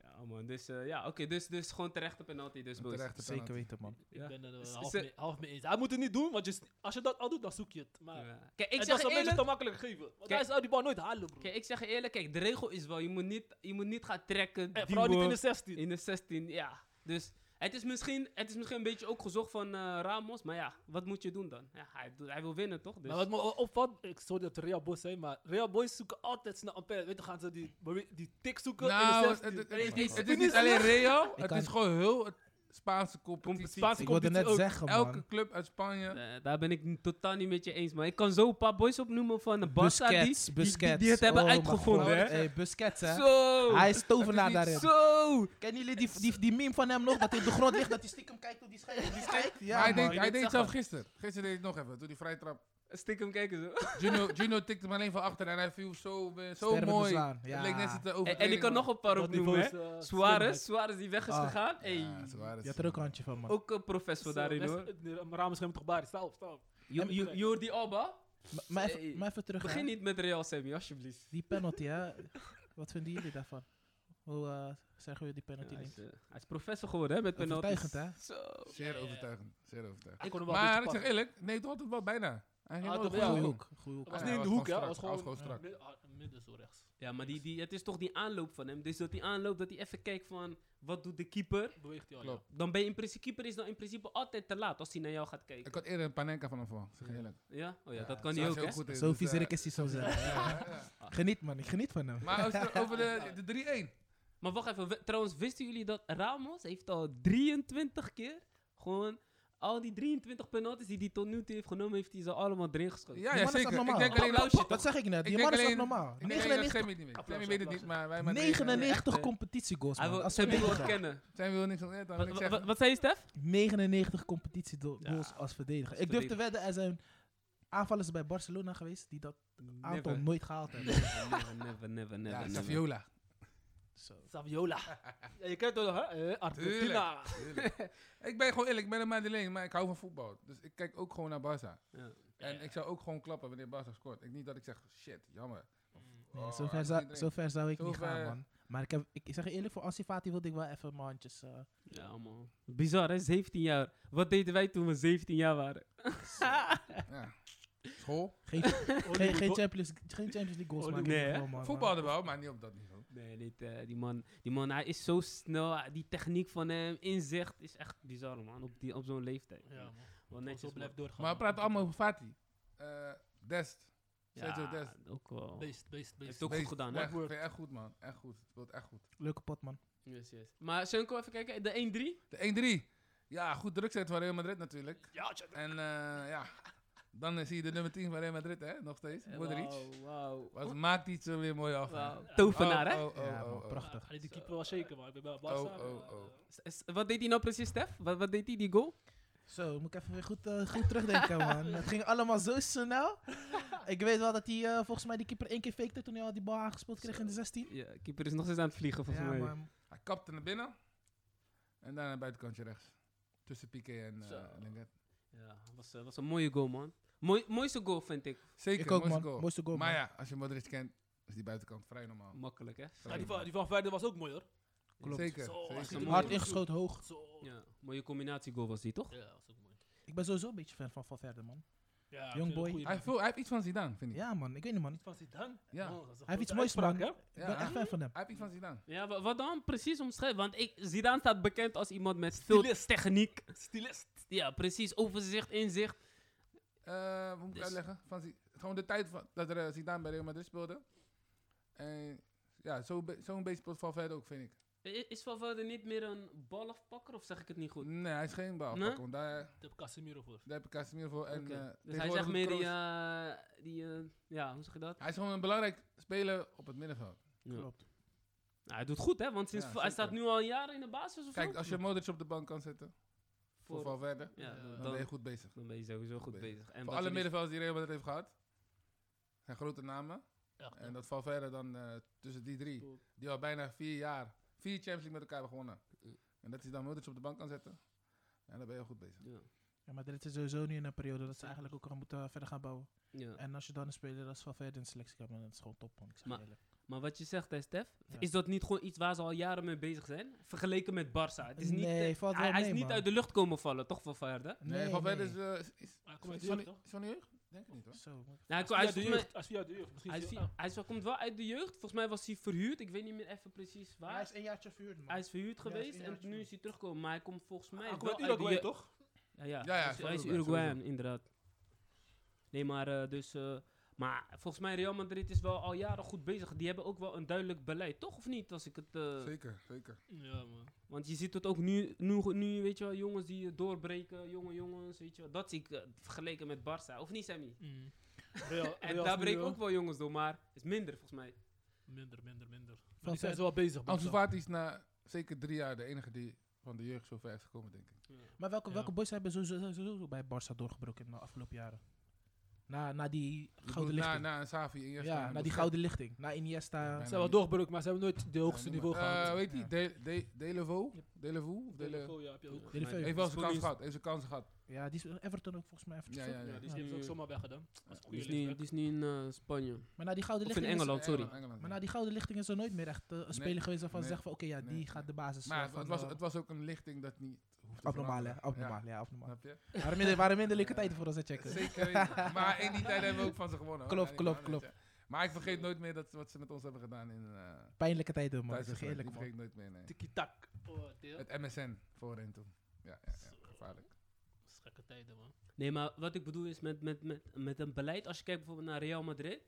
Ja, man. Dus eh, ja, oké. dus, dus gewoon terechte penalty, dus
Een
boys.
terechte
Zeker
penalty.
weten, man.
Ja.
Ik ben er
Ze-
eh, half
ze-
mee- half mee eens. Hij moet het niet doen, want je, s- als je dat al doet, dan zoek je het. Maar
Ja. Kijk, ik
ik
zeg
zou
je
mensen
eerlijk...
te makkelijk geven. Want
Kijk.
hij zou die bal nooit halen, bro.
Kijk, ik zeg je eerlijk, kijk, de regel is wel, je moet niet, je moet niet gaan trekken,
En Eh, vooral niet
duwen.
in de 16.
In de 16, ja. Dus het is misschien, het is misschien een beetje ook gezocht van eh, Ramos. Maar ja, wat moet je doen dan? Ja, hij, doet- hij wil winnen, toch? Dus,
Maar wat me o- opvalt, ik sorry dat het Real Boys zijn, maar Real Boys zoeken altijd snel een pijl. Weet je, gaan ze die, die tik zoeken
Nou,
in de
het,
16.
het-
En je
het-
denkt,
het
"Dit
is niet alleen Real.
Ik
Het
kan-
is gewoon heel het Spaanse competitie.
Spaanse
Ik wilde net
competitie
zeggen,
Elke
man.
club uit Spanje.
Eh, daar ben ik n- totaal niet met je eens, man. Ik kan zo een paar boys opnoemen van de Barca die,
Busquets,
die, die,
Busquets.
die het hebben
Oh, mijn
uitgevonden,
god.
hè?
Hey, Busquets, hè.
Zo!
Hij is tovenaar
Het is
daarin.
Zo!
Kennen jullie die, die, die meme van hem nog? Dat hij op de grond ligt, dat hij stiekem kijkt hoe die schijnt. hoe die schijnt? Ja,
maar hij "Ah,
man.
deed, hij
moet
deed
zeggen.
het zelf gisteren. Gisteren deed hij het nog even. Toen die vrije trap.
Stik hem kijken zo. [LAUGHS]
Gino, Gino tikte hem alleen van achter en hij viel zo, eh, zo
Stervende
mooi.
zwaan, ja.
Het leek net zitten
En,
over.
en ik kan nog een paar
dat
opnoemen, hè?
niveau is, eh,
Suarez,
slimheid.
Suarez die weg is
Ah.
gegaan. Hey.
Ja, Suarez.
Je had er ook een handje van, man.
Ook een professor daarin,
Zo,
hoor.
best- eh, Ramos geeft hem toch baar, sta op, sta op.
Jo-
en-
Jo- Jordi Alba,
Maar- Maar
Hey,
even, maar even terug,
begin
hè.
niet met Real, Sammy, alsjeblieft.
Die penalty, hè? Wat vinden jullie daarvan? Hoe eh, zeggen jullie die penalty
Ja, hij,
neemt?
is, eh, hij is professor geworden, hè, met penalties.
Overtuigend, hè?
Zo.
Zeer overtuigend. Zeer overtuigend.
Hij kon hem wel een
Maar
beetje
ik zeg
pakken.
eerlijk, neemt altijd wel bijna. Hij ging
Ah,
nooit
toch,
goed
ja.
doen.
Hoek.
Goeie hoek.
Dat was
Ja,
niet in
hij
de
was
hoek, hè?
gewoon
Dat was
strak, hij
gewoon
was gewoon strak.
Midden, ah, midden zo rechts.
Ja, maar die, die, het is toch die aanloop van hem. Dus dat die aanloop, dat hij even kijkt van wat doet de keeper.
Beweegt hij al.
Klopt.
Dan ben je in principe, keeper is dan in principe altijd te laat als hij naar jou gaat kijken.
Ik had eerder een panenka van hem verwacht, zeg je eerlijk.
Ja? Oh ja,
Ja,
dat kan
zag
hij ook,
je
hè?
goed in,
Zo
dus,
vies
eh,
is hij zo zijn.
[LAUGHS] ja, ja.
Geniet man, ik geniet van hem.
Maar over,
[LAUGHS]
over de, de 3-1.
Maar wacht even, we- trouwens, wisten jullie dat Ramos heeft al 23 keer gewoon al die 23 penalties die hij tot nu toe heeft genomen, heeft hij ze allemaal erin geschoten.
Ja,
Die
ja
man is
zeker. Ik
abnormaal.
denk alleen dat...
Applausje.
Dat zeg ik net, die
Ik
man
denk
is echt
alleen-
normaal.
Ik denk alleen
99,
dat Sammy het niet weet.
Applaus,
Sammy weet het niet,
applaus.
maar wij Madrid...
99
echt, eh,
competitiegoals
Hij
man.
wil
Als
Sammy wil het
verdediger.
kennen.
Sammy wil niks van weten,
Wat,
want ik zeg...
wat, wat zei je, Stef?
99 competitiegoals
Ja,
als verdediger.
als
Ik durf te
verdediger.
wedden, er zijn aanvallers bij Barcelona geweest die dat aantal
Never,
nooit gehaald hebben.
never, never, never, never,
Ja,
never.
Saviola.
[LAUGHS]
Zo.
Saviola.
[LAUGHS]
ja, je kent het wel, hè? Eh, Argentina.
Ik ben gewoon eerlijk, ik ben een Madeleine, maar ik hou van voetbal. Dus ik kijk ook gewoon naar Barca.
Ja.
En ik zou ook gewoon klappen wanneer Barca scoort. Ik, niet dat ik zeg, shit, jammer.
Mm.
Nee,
Oh,
zover,
dat
zou,
iedereen.
zover zou ik
Zo
niet gaan,
ver-
man. Maar ik, heb, ik ik zeg je eerlijk, voor Ansi Fati wilde ik wel even mijn handjes... eh,
Ja, man. Bizar, hè? 17 jaar. Wat deden wij toen we 17 jaar waren?
Ja.
[LAUGHS]
School.
geen, geen, geen, Champions, geen Champions League goals
Oh,
maken.
nee,
in
hè?
ieder geval, man, man.
Voetbalde wel, maar niet op dat niveau.
Nee, dit, eh, die, man, die man, hij is zo snel. eh, Die techniek van hem, inzicht, is echt bizar, man. Op, die- op zo'n leeftijd.
Ja, man.
Wel
Gewoon Zo
netjes,
blijft
man.
doorgaan.
Maar we
man.
praten allemaal over Fati. Eh, Dest. Sergio Dest.
Ja, ook wel.
Beest, beest,
Heeft
beest.
ook goed
Beest.
gedaan, hè?
Echt, vind ik echt goed, man. Echt goed. Het wordt echt goed.
Leuke pot, man.
Yes, yes. Maar Senko, even kijken. De 1-3?
De 1-3. Ja, goed druk zetten van Real Madrid natuurlijk.
Ja, tja,
En eh, ja, dan eh, zie je de nummer 10 van Real Madrid, hè? Nog steeds. Modric.
Wauw, wauw.
Was, maakt iets er weer mooi af. hè.
Wauw.
Oh,
Tovenaar, hè?
oh,
ja, man,
oh, oh, oh.
prachtig.
Ah, die keeper was zeker, maar ik ben bij Barca.
Oh, oh, oh.
S- s- Wat deed hij nou precies, Stef? Wat, wat deed hij, die goal?
Zo, moet ik even weer goed, eh, goed terugdenken, man. Het ging allemaal zo snel. Ik weet wel dat hij eh, volgens mij die keeper één keer fakte toen hij al die bal aangespeeld kreeg in de 16.
Ja, keeper is nog steeds aan het vliegen, volgens
Ja,
mij.
man.
Hij kapte naar binnen. En daarna een buitenkantje rechts. Tussen Piqué en
Zo.
eh Lenglet.
Ja, was, eh, was een mooie goal, man. Mooi, mooiste goal, vind ik.
Zeker,
Ik ook,
mooiste
man. Mooiste goal,
Maar
man.
ja, als je Modric kent, is die buitenkant vrij normaal.
Makkelijk, hè?
Sorry,
die,
man.
van, die van Verder was ook mooi, hoor.
Klopt.
Zeker,
Zo,
zeker.
als je
Een
hem-
mooie-
Hard ingeschoten, hoog.
Zo. Ja,
Ja, mooie combinatiegoal was die, toch?
dat was ook mooi.
Ik ben sowieso een beetje fan van Valverde, man.
Ja, ik
Young
vind het
boy.
een goeie
hij, heeft veel- hij heeft iets van Zidane, vind ik.
Ja, man. Ik weet niet, man. Ik
Van Zidane?
Ja.
Man, Oh, dat is een
heeft iets
grote
moois,
uitspraak,
man.
hè?
Ja,
ben
hij,
echt fan van hem.
hij heeft iets van Zidane.
Ja, wa- wat dan precies omschrijven? Want ik, Zidane staat bekend als iemand met veel
Stylist.
techniek.
Stylist.
Ja, precies. Overzicht, inzicht.
Eh, hoe moet ik
Dus-
uitleggen? Van Zi- gewoon de tijd van, dat er eh, Zidane bij Real Madrid speelde. En ja, zo'n be- zo'n beetje speelt Valverde ook, vind ik.
I- Is Valverde niet meer een balafpakker of zeg ik het niet goed?
Nee, hij is geen bal.
Nee?
want daar,
Daar heb ik Casemiro voor.
daar heb ik Casemiro voor. En,
Oké.
eh,
dus hij
tegenwoordig
is echt
doet
meer die,
Kroos-
eh, die eh, ja, hoe zeg je dat?
Hij is gewoon een belangrijk speler op het middenveld.
Ja.
Klopt.
Nou, hij doet goed, hè? Want sinds
Ja,
v- hij staat
zeker.
nu al een jaar in de basis of
Kijk,
zo?
als je Modric op de bank kan zetten voor,
Voor-
Valverde,
ja, dan,
dan ben je
dan,
goed bezig.
dan ben je sowieso goed
bezig.
bezig. En
voor
dat
alle
je dus- niet-
middenvelders die Real Madrid heeft gehad, zijn grote namen.
Echt,
En dat Valverde dan eh, tussen die drie, die al bijna vier jaar, vier Champions League met elkaar hebben gewonnen. En dat hij dan Modric op de bank kan zetten. En dan ben je goed bezig.
Ja.
Ja, maar dit is sowieso nu in een periode dat ze eigenlijk ook gaan moeten eh, verder gaan bouwen.
Ja.
En als je dan een speler als Valverde in de selectie hebt, dan is het gewoon top, man. Ik zeg je
Maar-
eerlijk.
Maar wat je zegt, hè, Stef,
Ja.
is dat niet gewoon iets waar ze al jaren mee bezig zijn? Vergeleken met Barça. Het is niet,
Nee,
eh,
valt
hij,
wel
hij is
mee,
niet
man.
uit de lucht komen vallen, toch, Valverde?
Nee, Valverde is, eh, is, is,
Hij komt Ah, uit
is
de
van
jeugd,
die-
toch?
is van de jeugd? Denk ik niet hoor.
Zo, man.
Nou, hij,
Hij is via
hij,
de
hij,
jeugd. Hij is via de jeugd. Ah, Misschien
hij,
is
is-
hij-
hij is wel- komt wel uit de jeugd. Volgens mij was hij verhuurd. Ik weet niet meer even precies waar.
Hij is een jaartje verhuurd, man.
Hij is verhuurd
Ja, hij is
geweest
een
en
jaartje
nu
jong.
is hij teruggekomen. Maar hij komt volgens mij
Hij komt
wel
uit
uit de
Uruguay,
jeugd.
toch?
Ja, ja.
Ja, ja,
hij is,
van
hij is
Uruguay,
Uruguayan,
sowieso.
inderdaad. Nee, maar eh, dus... eh, maar volgens mij Real Madrid is wel al jaren goed bezig. Die hebben ook wel een duidelijk beleid, toch? Of niet? Als ik het, eh,
Zeker, zeker.
Ja, man.
want je ziet het ook nu, nu, nu, weet je wel, jongens die eh, doorbreken, jonge jongens, weet je wel. Dat zie ik eh, vergeleken met Barça, of niet Sammy?
Mm. Real,
En
Real
daar
is nu,
breken
eh,
ook wel jongens door, maar is minder volgens mij.
Minder, minder, minder. Maar
Van
die zijn
Ver-
ze wel bezig.
Ansu
Barca.
Fati is na zeker drie jaar de enige die van de jeugd zo ver is gekomen, denk ik.
Maar welke,
Ja.
welke boys hebben sowieso, sowieso bij Barça doorgebroken in de afgelopen jaren? Na, na die
Ik
gouden
bedoel, na,
lichting.
na een Savi in
ja, na die gouden lichting. Na Iniesta.
Ja,
Ze hebben wel doorgebroken, maar ze hebben nooit de hoogste niveau
Eh,
gehad.
Weet je, De- De- Delevo? Delevu? Of Dele...
Telefoon, ja, heb je ook.
Dele Veu.
Heeft wel zijn kans
Spookies.
gehad. Heeft zijn kans gehad.
Ja, die is Everton ook volgens mij. Everton
Ja,
toch?
ja, ja.
Ja, die
Ja.
heeft ook zomaar weggedaan. Dat is een
Die
goede
is nu,
linksback.
die is nu in eh, Spanje.
Maar na die gouden
Of in
lichting. is-
Engeland, sorry.
Engeland, Engeland,
Maar
ja.
na die gouden lichting is er nooit meer echt eh, een speler geweest waarvan ze
nee,
zeggen van oké, ja, die
nee,
gaat de basis.
Maar
eh,
het-
van,
het was,
eh,
het was ook een lichting dat niet hoeft te
abnormaal, hè?
veranderen.
Abnormaal,
Ja.
ja, abnormaal.
Snap je?
[LAUGHS] Waren minder, waren minderlijke tijden voor ons te checken.
Zeker weten. Maar in die tijd hebben we ook van ze gewonnen. hoor.
Klopt,
Ja, die
klopt,
waren het, ja. Maar ik vergeet nooit meer dat, wat ze met ons hebben gedaan in... eh
Pijnlijke tijden, man. Ik
tijdens
zeg je
de wedstrijd.
eerlijk,
Die
man.
vergeet ik nooit meer, nee.
Tiki-tak. Oh, deel. Dat
Het MSN voorheen toen. Ja, ja, ja. Gevaarlijk.
is gekke tijden, man.
Nee, maar wat ik bedoel is met, met, met, met een beleid. Als je kijkt bijvoorbeeld naar Real Madrid.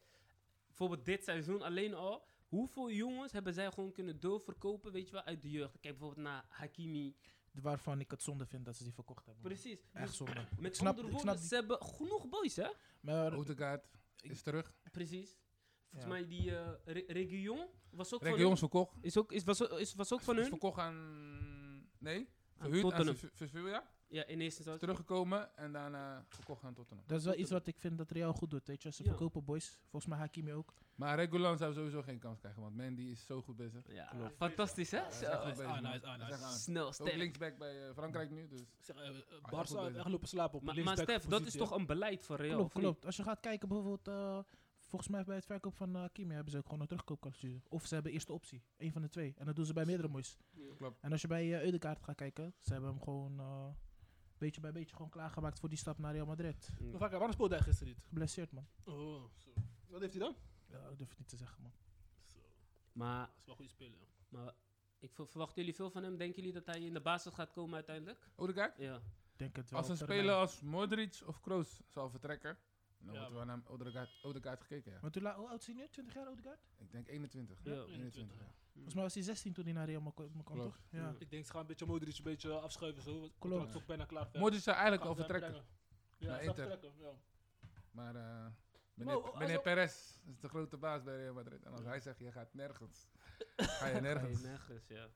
Bijvoorbeeld dit seizoen alleen al. Hoeveel jongens hebben zij gewoon kunnen doorverkopen, weet je wel, uit de jeugd? Kijk bijvoorbeeld naar Hakimi.
Waarvan ik het zonde vind dat ze die verkocht hebben. man.
Precies.
Echt
Dus
zonde.
met
snap-
andere
ik snap
woorden,
die-
ze hebben genoeg boys, hè?
Maar
Odegaard is terug.
Precies. Volgens
Ja.
mij die eh, Re- Region was ook van
Regions verkocht.
hun. Is ook, is, was, ook- is, was ook van
Is
hun.
verkocht aan... Nee,
Aan
gehuurd aan
Tottenham.
Sev- Sevilla.
Ja, in eerste instantie.
Teruggekomen en daarna verkocht aan Tottenham.
dat is wel iets wat ik vind dat Real goed doet, weet je. Ze
Ja.
verkopen boys. Volgens mij Hakimi ook.
Maar Regulan zou sowieso geen kans krijgen, want Mandy is zo goed bezig.
Ja,
Klopt.
fantastisch, hè?
Hij is
Zo.
echt goed
is
bezig,
aan,
man.
hij is aan,
Hij is
hij
echt aan.
Snel,
Ook
sterk.
linksback bij eh, Frankrijk nu, dus...
Ik zeg, eh, eh,
goed
Barca heeft
bezig.
echt lopen slapen op
Maar,
een
maar
linksback
Stef, dat is
positie,
toch
hè.
een beleid van Real?
Klopt,
of niet?
klopt. Als je gaat kijken bijvoorbeeld... eh, Volgens mij bij het verkoop van eh, Hakimi hebben ze ook gewoon een terugkoopclausule. Of ze hebben eerste optie. Eén van de twee. En dat doen ze bij meerdere boys. En als je bij eh Eudekaart gaat kijken, ze hebben hem gewoon eh, beetje bij beetje gewoon klaargemaakt voor die stap naar Real Madrid.
Maar vaak, waarom speelde hij gisteren niet?
Geblesseerd man.
Oh, zo. Wat heeft hij dan?
Ja, ik durf het niet te zeggen man.
Zo,
Maar,
dat is wel een goede speler.
maar ik ver- verwachten jullie veel van hem. Denken jullie dat hij in de basis gaat komen uiteindelijk?
Odegaard?
Ja.
Ik denk het wel.
Als een
op termijn.
speler als Modric of Kroos zal vertrekken, dan
Ja,
wordt er naar Odegaard, Odegaard gekeken. Ja.
Want hoe la- hoe oud is hij nu? 20 jaar Odegaard?
Ik denk 21.
Ja.
21, ja.
Volgens mij was hij 16 toen hij naar Real Ma- kwam,
Klopt.
toch? Ja.
Ik denk, ze gaan een beetje Modric een beetje afschuiven zo. want Het
Klopt.
contract is ook bijna klaar.
Modric zou eigenlijk al
Kan ze hem
vertrekken,
brengen. Ja,
Naar
hij zou
Inter.
vertrekken, ja.
maar eh, meneer,
oh, hij
meneer
zou-
Perez is de grote baas bij Real Madrid. En als hij zegt, je gaat nergens, ga je nergens.
Ga je nergens, ja.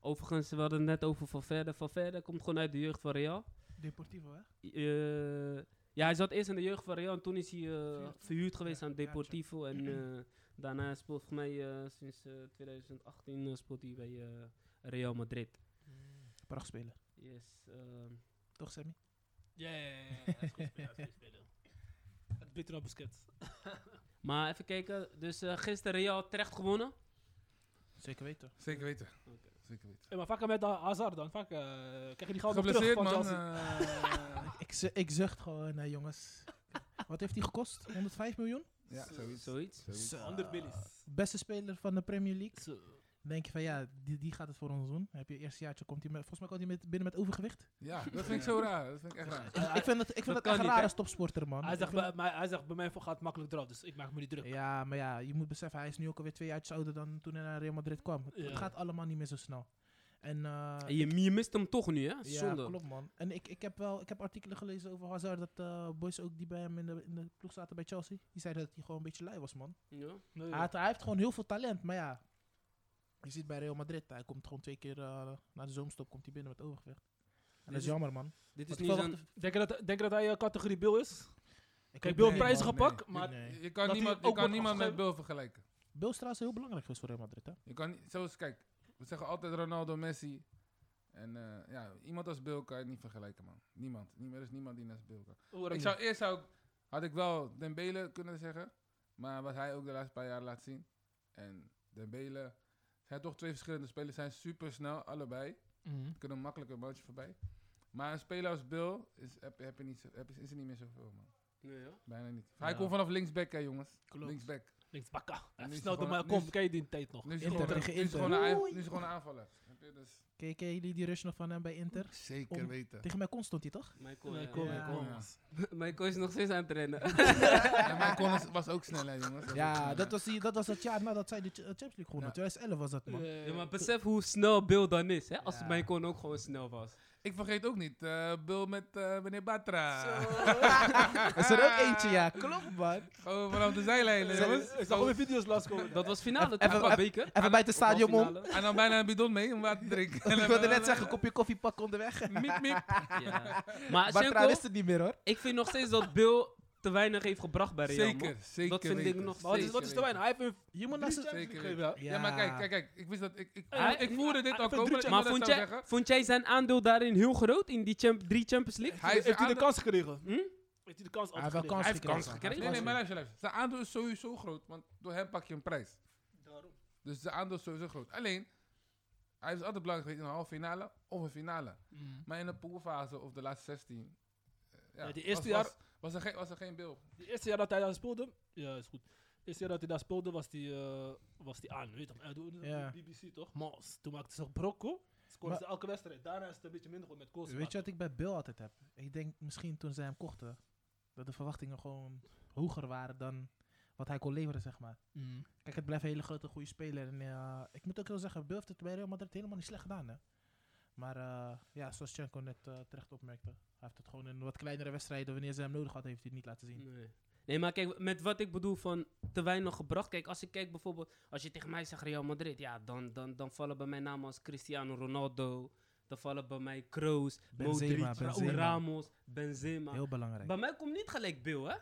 Overigens, we hadden het net over Valverde. Valverde komt gewoon uit de jeugd van Real.
Deportivo hè?
Eh, ja, hij zat eerst in de jeugd van Real en toen is hij eh,
Verhuurd.
verhuurd geweest
Ja,
aan
ja, check.
Deportivo. En eh, daarna speelt volgens mij eh, sinds eh, 2018 eh, speelt hij bij eh, Real Madrid.
Prachtspeler.
Yes. ehm,
Toch Sammy?
Ja, ja, ja, ja, hij is goed speler, hij is goed speler. [LAUGHS] Het beter dan Busquets.
maar even kijken. Dus eh, gisteren Real terecht gewonnen.
Zeker weten.
Zeker weten. Zeker weten.
Hey, maar vaker met eh, Hazard dan. Vaak eh, krijg je die gouden terug
Geblesseerd
van
man.
Chelsea.
eh,
Ik, ze- ik zucht gewoon nee, jongens. Wat heeft hij gekost? 105 miljoen?
ja, zoiets.
Zoiets.
zoiets.
100 millies.
Beste speler van de Premier League.
[LAUGHS] Zo.
Denk je van ja, die, die gaat het voor ons doen. Heb je eerste jaartje komt hij met, volgens mij komt hij met, binnen met overgewicht.
[LAUGHS]
Ja, dat vind ik zo raar. Dat vind ik echt raar.
Ja, ik vind het, ik
dat
vind het
kan
echt
niet,
raar
hè?
als topsporter, man.
Hij
Ik
zegt,
vind
bij, mij, hij zegt, bij mij gaat het makkelijk eraf, dus ik maak me niet druk.
het- ja, maar ja, je moet beseffen, hij is nu ook alweer twee jaar ouder dan toen hij naar Real Madrid kwam. Het, het
Ja.
gaat allemaal niet meer zo snel. En, eh,
En je, je mist hem toch nu, hè?
ja,
Zonde.
klopt man. En ik, ik heb wel ik heb artikelen gelezen over Hazard, dat eh, boys ook die bij hem in de, in de ploeg zaten bij Chelsea, die zeiden dat hij gewoon een beetje lui was man.
Ja.
Nee,
Hij, had- hij heeft gewoon heel veel talent, maar ja, je ziet bij Real Madrid, hij komt gewoon twee keer eh, na de zomerstop komt hij binnen met overgewicht. En dat
Dit
is
is-
jammer man.
Dit is
Want
niet
ik
zo'n...
verwacht-
Denk, je dat, denk je dat hij eh, categorie Bill is?
ik
Kijk,
hoop-
Bill heeft
nee,
prijzen
man.
gepakt,
Nee,
maar...
nee.
Je
Dat
kan
hij
niemand, je
ook
kan
wordt
niemand met
afgeschreven?
Bill vergelijken.
Bill is trouwens heel belangrijk geweest voor Real Madrid hè.
Je kan niet, zoals kijk, we zeggen altijd Ronaldo, Messi. En eh, ja, iemand als Bill kan je niet vergelijken, man. Niemand. Niemand- Er is niemand die naast Bill kan.
Oh, waarom
Ik zou eerst zou, ik- had ik wel Dembele kunnen zeggen, maar wat hij ook de laatste paar jaar laat zien. En Dembele zijn toch twee verschillende spelers, zijn super snel allebei,
Mhm.
kunnen makkelijk een bootje voorbij. Maar een speler als Bill is, heb, heb je niet zo, heb, is er niet meer zoveel, man.
Nee, ja.
Bijna niet. Hij
Ja.
komt vanaf linksback, hè, jongens.
Klopt.
Linksback.
niet? Links bakken.
nu is
Snel
hij
door mij,
gewoon- nu
kom,
is-
ken je die tijd nog?
Nu is hij
Inter
gewoon, een-
tegen
nu is hij
Inter.
gewoon, een aan- nu is hij gewoon een aanvaller. Heb je dus-
Ken- Ken jullie die rush nog van hem bij Inter?
Zeker
Om-
weten.
Tegen mij kon stond hij toch?
Michael,
Nee,
ja.
kom,
Ja.
kom.
Ja.
[LAUGHS] Michael is nog steeds aan het rennen.
Ja, maar Conor is- was ook snel, hè, jongens. Was ook
Ja,
snel.
dat was, die, dat was dat jaar nadat zij de Ch- eh, Champions League wonnen.
Ja.
2011 was dat, man.
Ja, maar besef hoe snel Bill dan is, hè? Als
Ja.
Michael ook gewoon snel was.
Ik vergeet ook niet, eh Bill met eh, meneer Batra.
Is er ook eentje,
[LAUGHS]
ja. Klopt, man.
Gewoon vanaf de zijlijnen, jongens.
Ik zag ook weer video's langskomen.
Dat was finale,
Even-
toch? Qua
even-
beker.
Even bij het stadion om.
Halffinale.
Hij nam bijna een bidon mee om water te drinken.
[LAUGHS] Ik wilde net zeggen, kopje koffie
Ah,
pakken onderweg.
Miep, miep.
Ja. Maar
Maar trouwens
Senko,
wist het niet meer, hoor.
ik vind nog steeds dat Bill te weinig heeft gebracht bij Real. man.
Zeker, zeker.
Dat vind ik
weten.
nog
Maar wat is,
steeds.
Zeker
wat is te weinig? Hij heeft een- je moet naast
Zeker
de
weten.
geven. ja.
Ja. maar kijk, kijk, kijk. Ik wist dat. Ik, ik,
Hij-
ik voerde dit
hij
al
heeft
komen.
drie
dat
check-
ik
Maar
dat
vond
zou
jij,
zeggen.
vond jij zijn aandeel daarin heel groot in die champ- drie Champions League?
Hij is
Heeft hij de
aan-
kans gekregen?
Hm?
Heeft hij de kans
Hij heeft wel
altijd
kans
heeft
gekregen.
kans gekregen.
Nee, nee, maar luister, luister. Zijn aandeel is sowieso groot, want door hem pak je een prijs.
Daarom.
Dus zijn aandeel is sowieso groot. Alleen, hij is altijd belangrijk geweest in een halve finale of een finale. Maar in de poolfase of de laatste 16. eh,
Ja, die eerste
was,
jaar-
was, was er geen, was er geen beeld.
De eerste jaar dat hij daar speelde, ja, is goed. Het eerste jaar dat hij daar speelde was die, eh, was die aan, weet je toch?
Ja.
Ja. BBC toch? Mals. Toen maakte ze nog Brocco. Scoorde
Maar-
ze elke wedstrijd. Daarna is het een beetje minder goed met goals.
Weet je wat ik bij Bill altijd heb? Ik denk misschien toen ze hem kochten, dat de verwachtingen gewoon hoger waren dan wat hij kon leveren, zeg maar.
Hm.
Kijk, het blijft een hele grote goede speler. En eh, ik moet ook wel zeggen, Bill heeft het bij Real Madrid helemaal niet slecht gedaan, hè. Maar eh, ja, zoals Tjenko net eh, terecht opmerkte, hij heeft het gewoon in wat kleinere wedstrijden, wanneer ze hem nodig had, heeft hij het niet laten zien.
Nee. nee, maar kijk, met wat ik bedoel van te weinig gebracht. Kijk, als ik kijk bijvoorbeeld, als je tegen mij zegt Real Madrid, ja, dan, dan, dan vallen bij mij namen als Cristiano Ronaldo. Dan vallen bij mij Kroos,
Benzema,
Modric, Raúl
Benzema.
Ramos, Benzema.
Heel belangrijk.
Bij mij komt niet gelijk Bill, hè?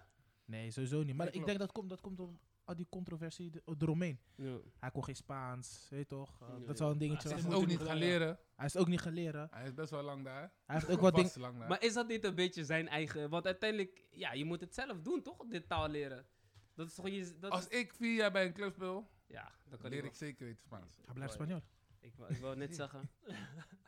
Nee, sowieso niet. Maar
Nee,
ik
klopt.
denk dat komt, dat komt door al die controversie de- eromheen.
Ja.
Hij kon geen Spaans, weet je toch? Eh,
Nee.
dat is wel een dingetje.
Hij
Hij
wat
is
moet
moet-
ook
hem
niet
wel,
gaan
ja.
leren.
Hij is ook niet geleren.
Hij is best wel lang daar.
Hij heeft ook wat dingen...
Vast lang daar.
Maar is dat niet een beetje zijn eigen... Want uiteindelijk, ja, je moet het zelf doen, toch? Dit taal leren. Dat is toch je... Dat
Als
is-
ik vier jaar bij een club speel,
ja, dat kan
leer ik
ik
zeker weten Spaans.
Hij blijft Spanjool.
Ik wou, ik wou net zeggen. [LAUGHS]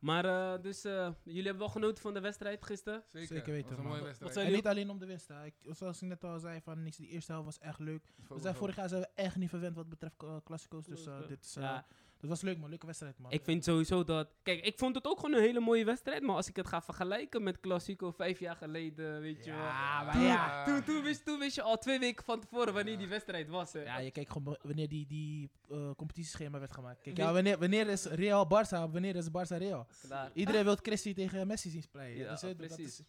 Maar eh, dus, eh, jullie hebben wel genoten van de wedstrijd gisteren?
Zeker,
Zeker weten,
was een
man.
mooie
Wat-
wedstrijd.
wat
En niet alleen om de winst. Hè. Ik, zoals ik net al zei, van, niks, die eerste helft was echt leuk. We zijn vorig jaar zijn we echt niet verwend wat betreft eh, klassico's. Dus eh, dit is, eh,
Ja,
dat was leuk man, leuke wedstrijd man.
ik vind sowieso dat... Kijk, ik vond het ook gewoon een hele mooie wedstrijd. Maar als ik het ga vergelijken met Classico vijf jaar geleden, weet je wel.
maar
Toen,
Ah, ja.
toen, toen, wist, toen wist je al twee weken van tevoren wanneer
Ja.
die wedstrijd was. Hè.
Ja, je kijkt gewoon be- wanneer die, die eh, competitieschema werd gemaakt. Kijk,
Weet-
ja, wanneer, wanneer is Real Barça, wanneer is Barça Real?
Klaar.
Iedereen wil Christie tegen Messi zien spelen. dus, eh,
Ja, precies.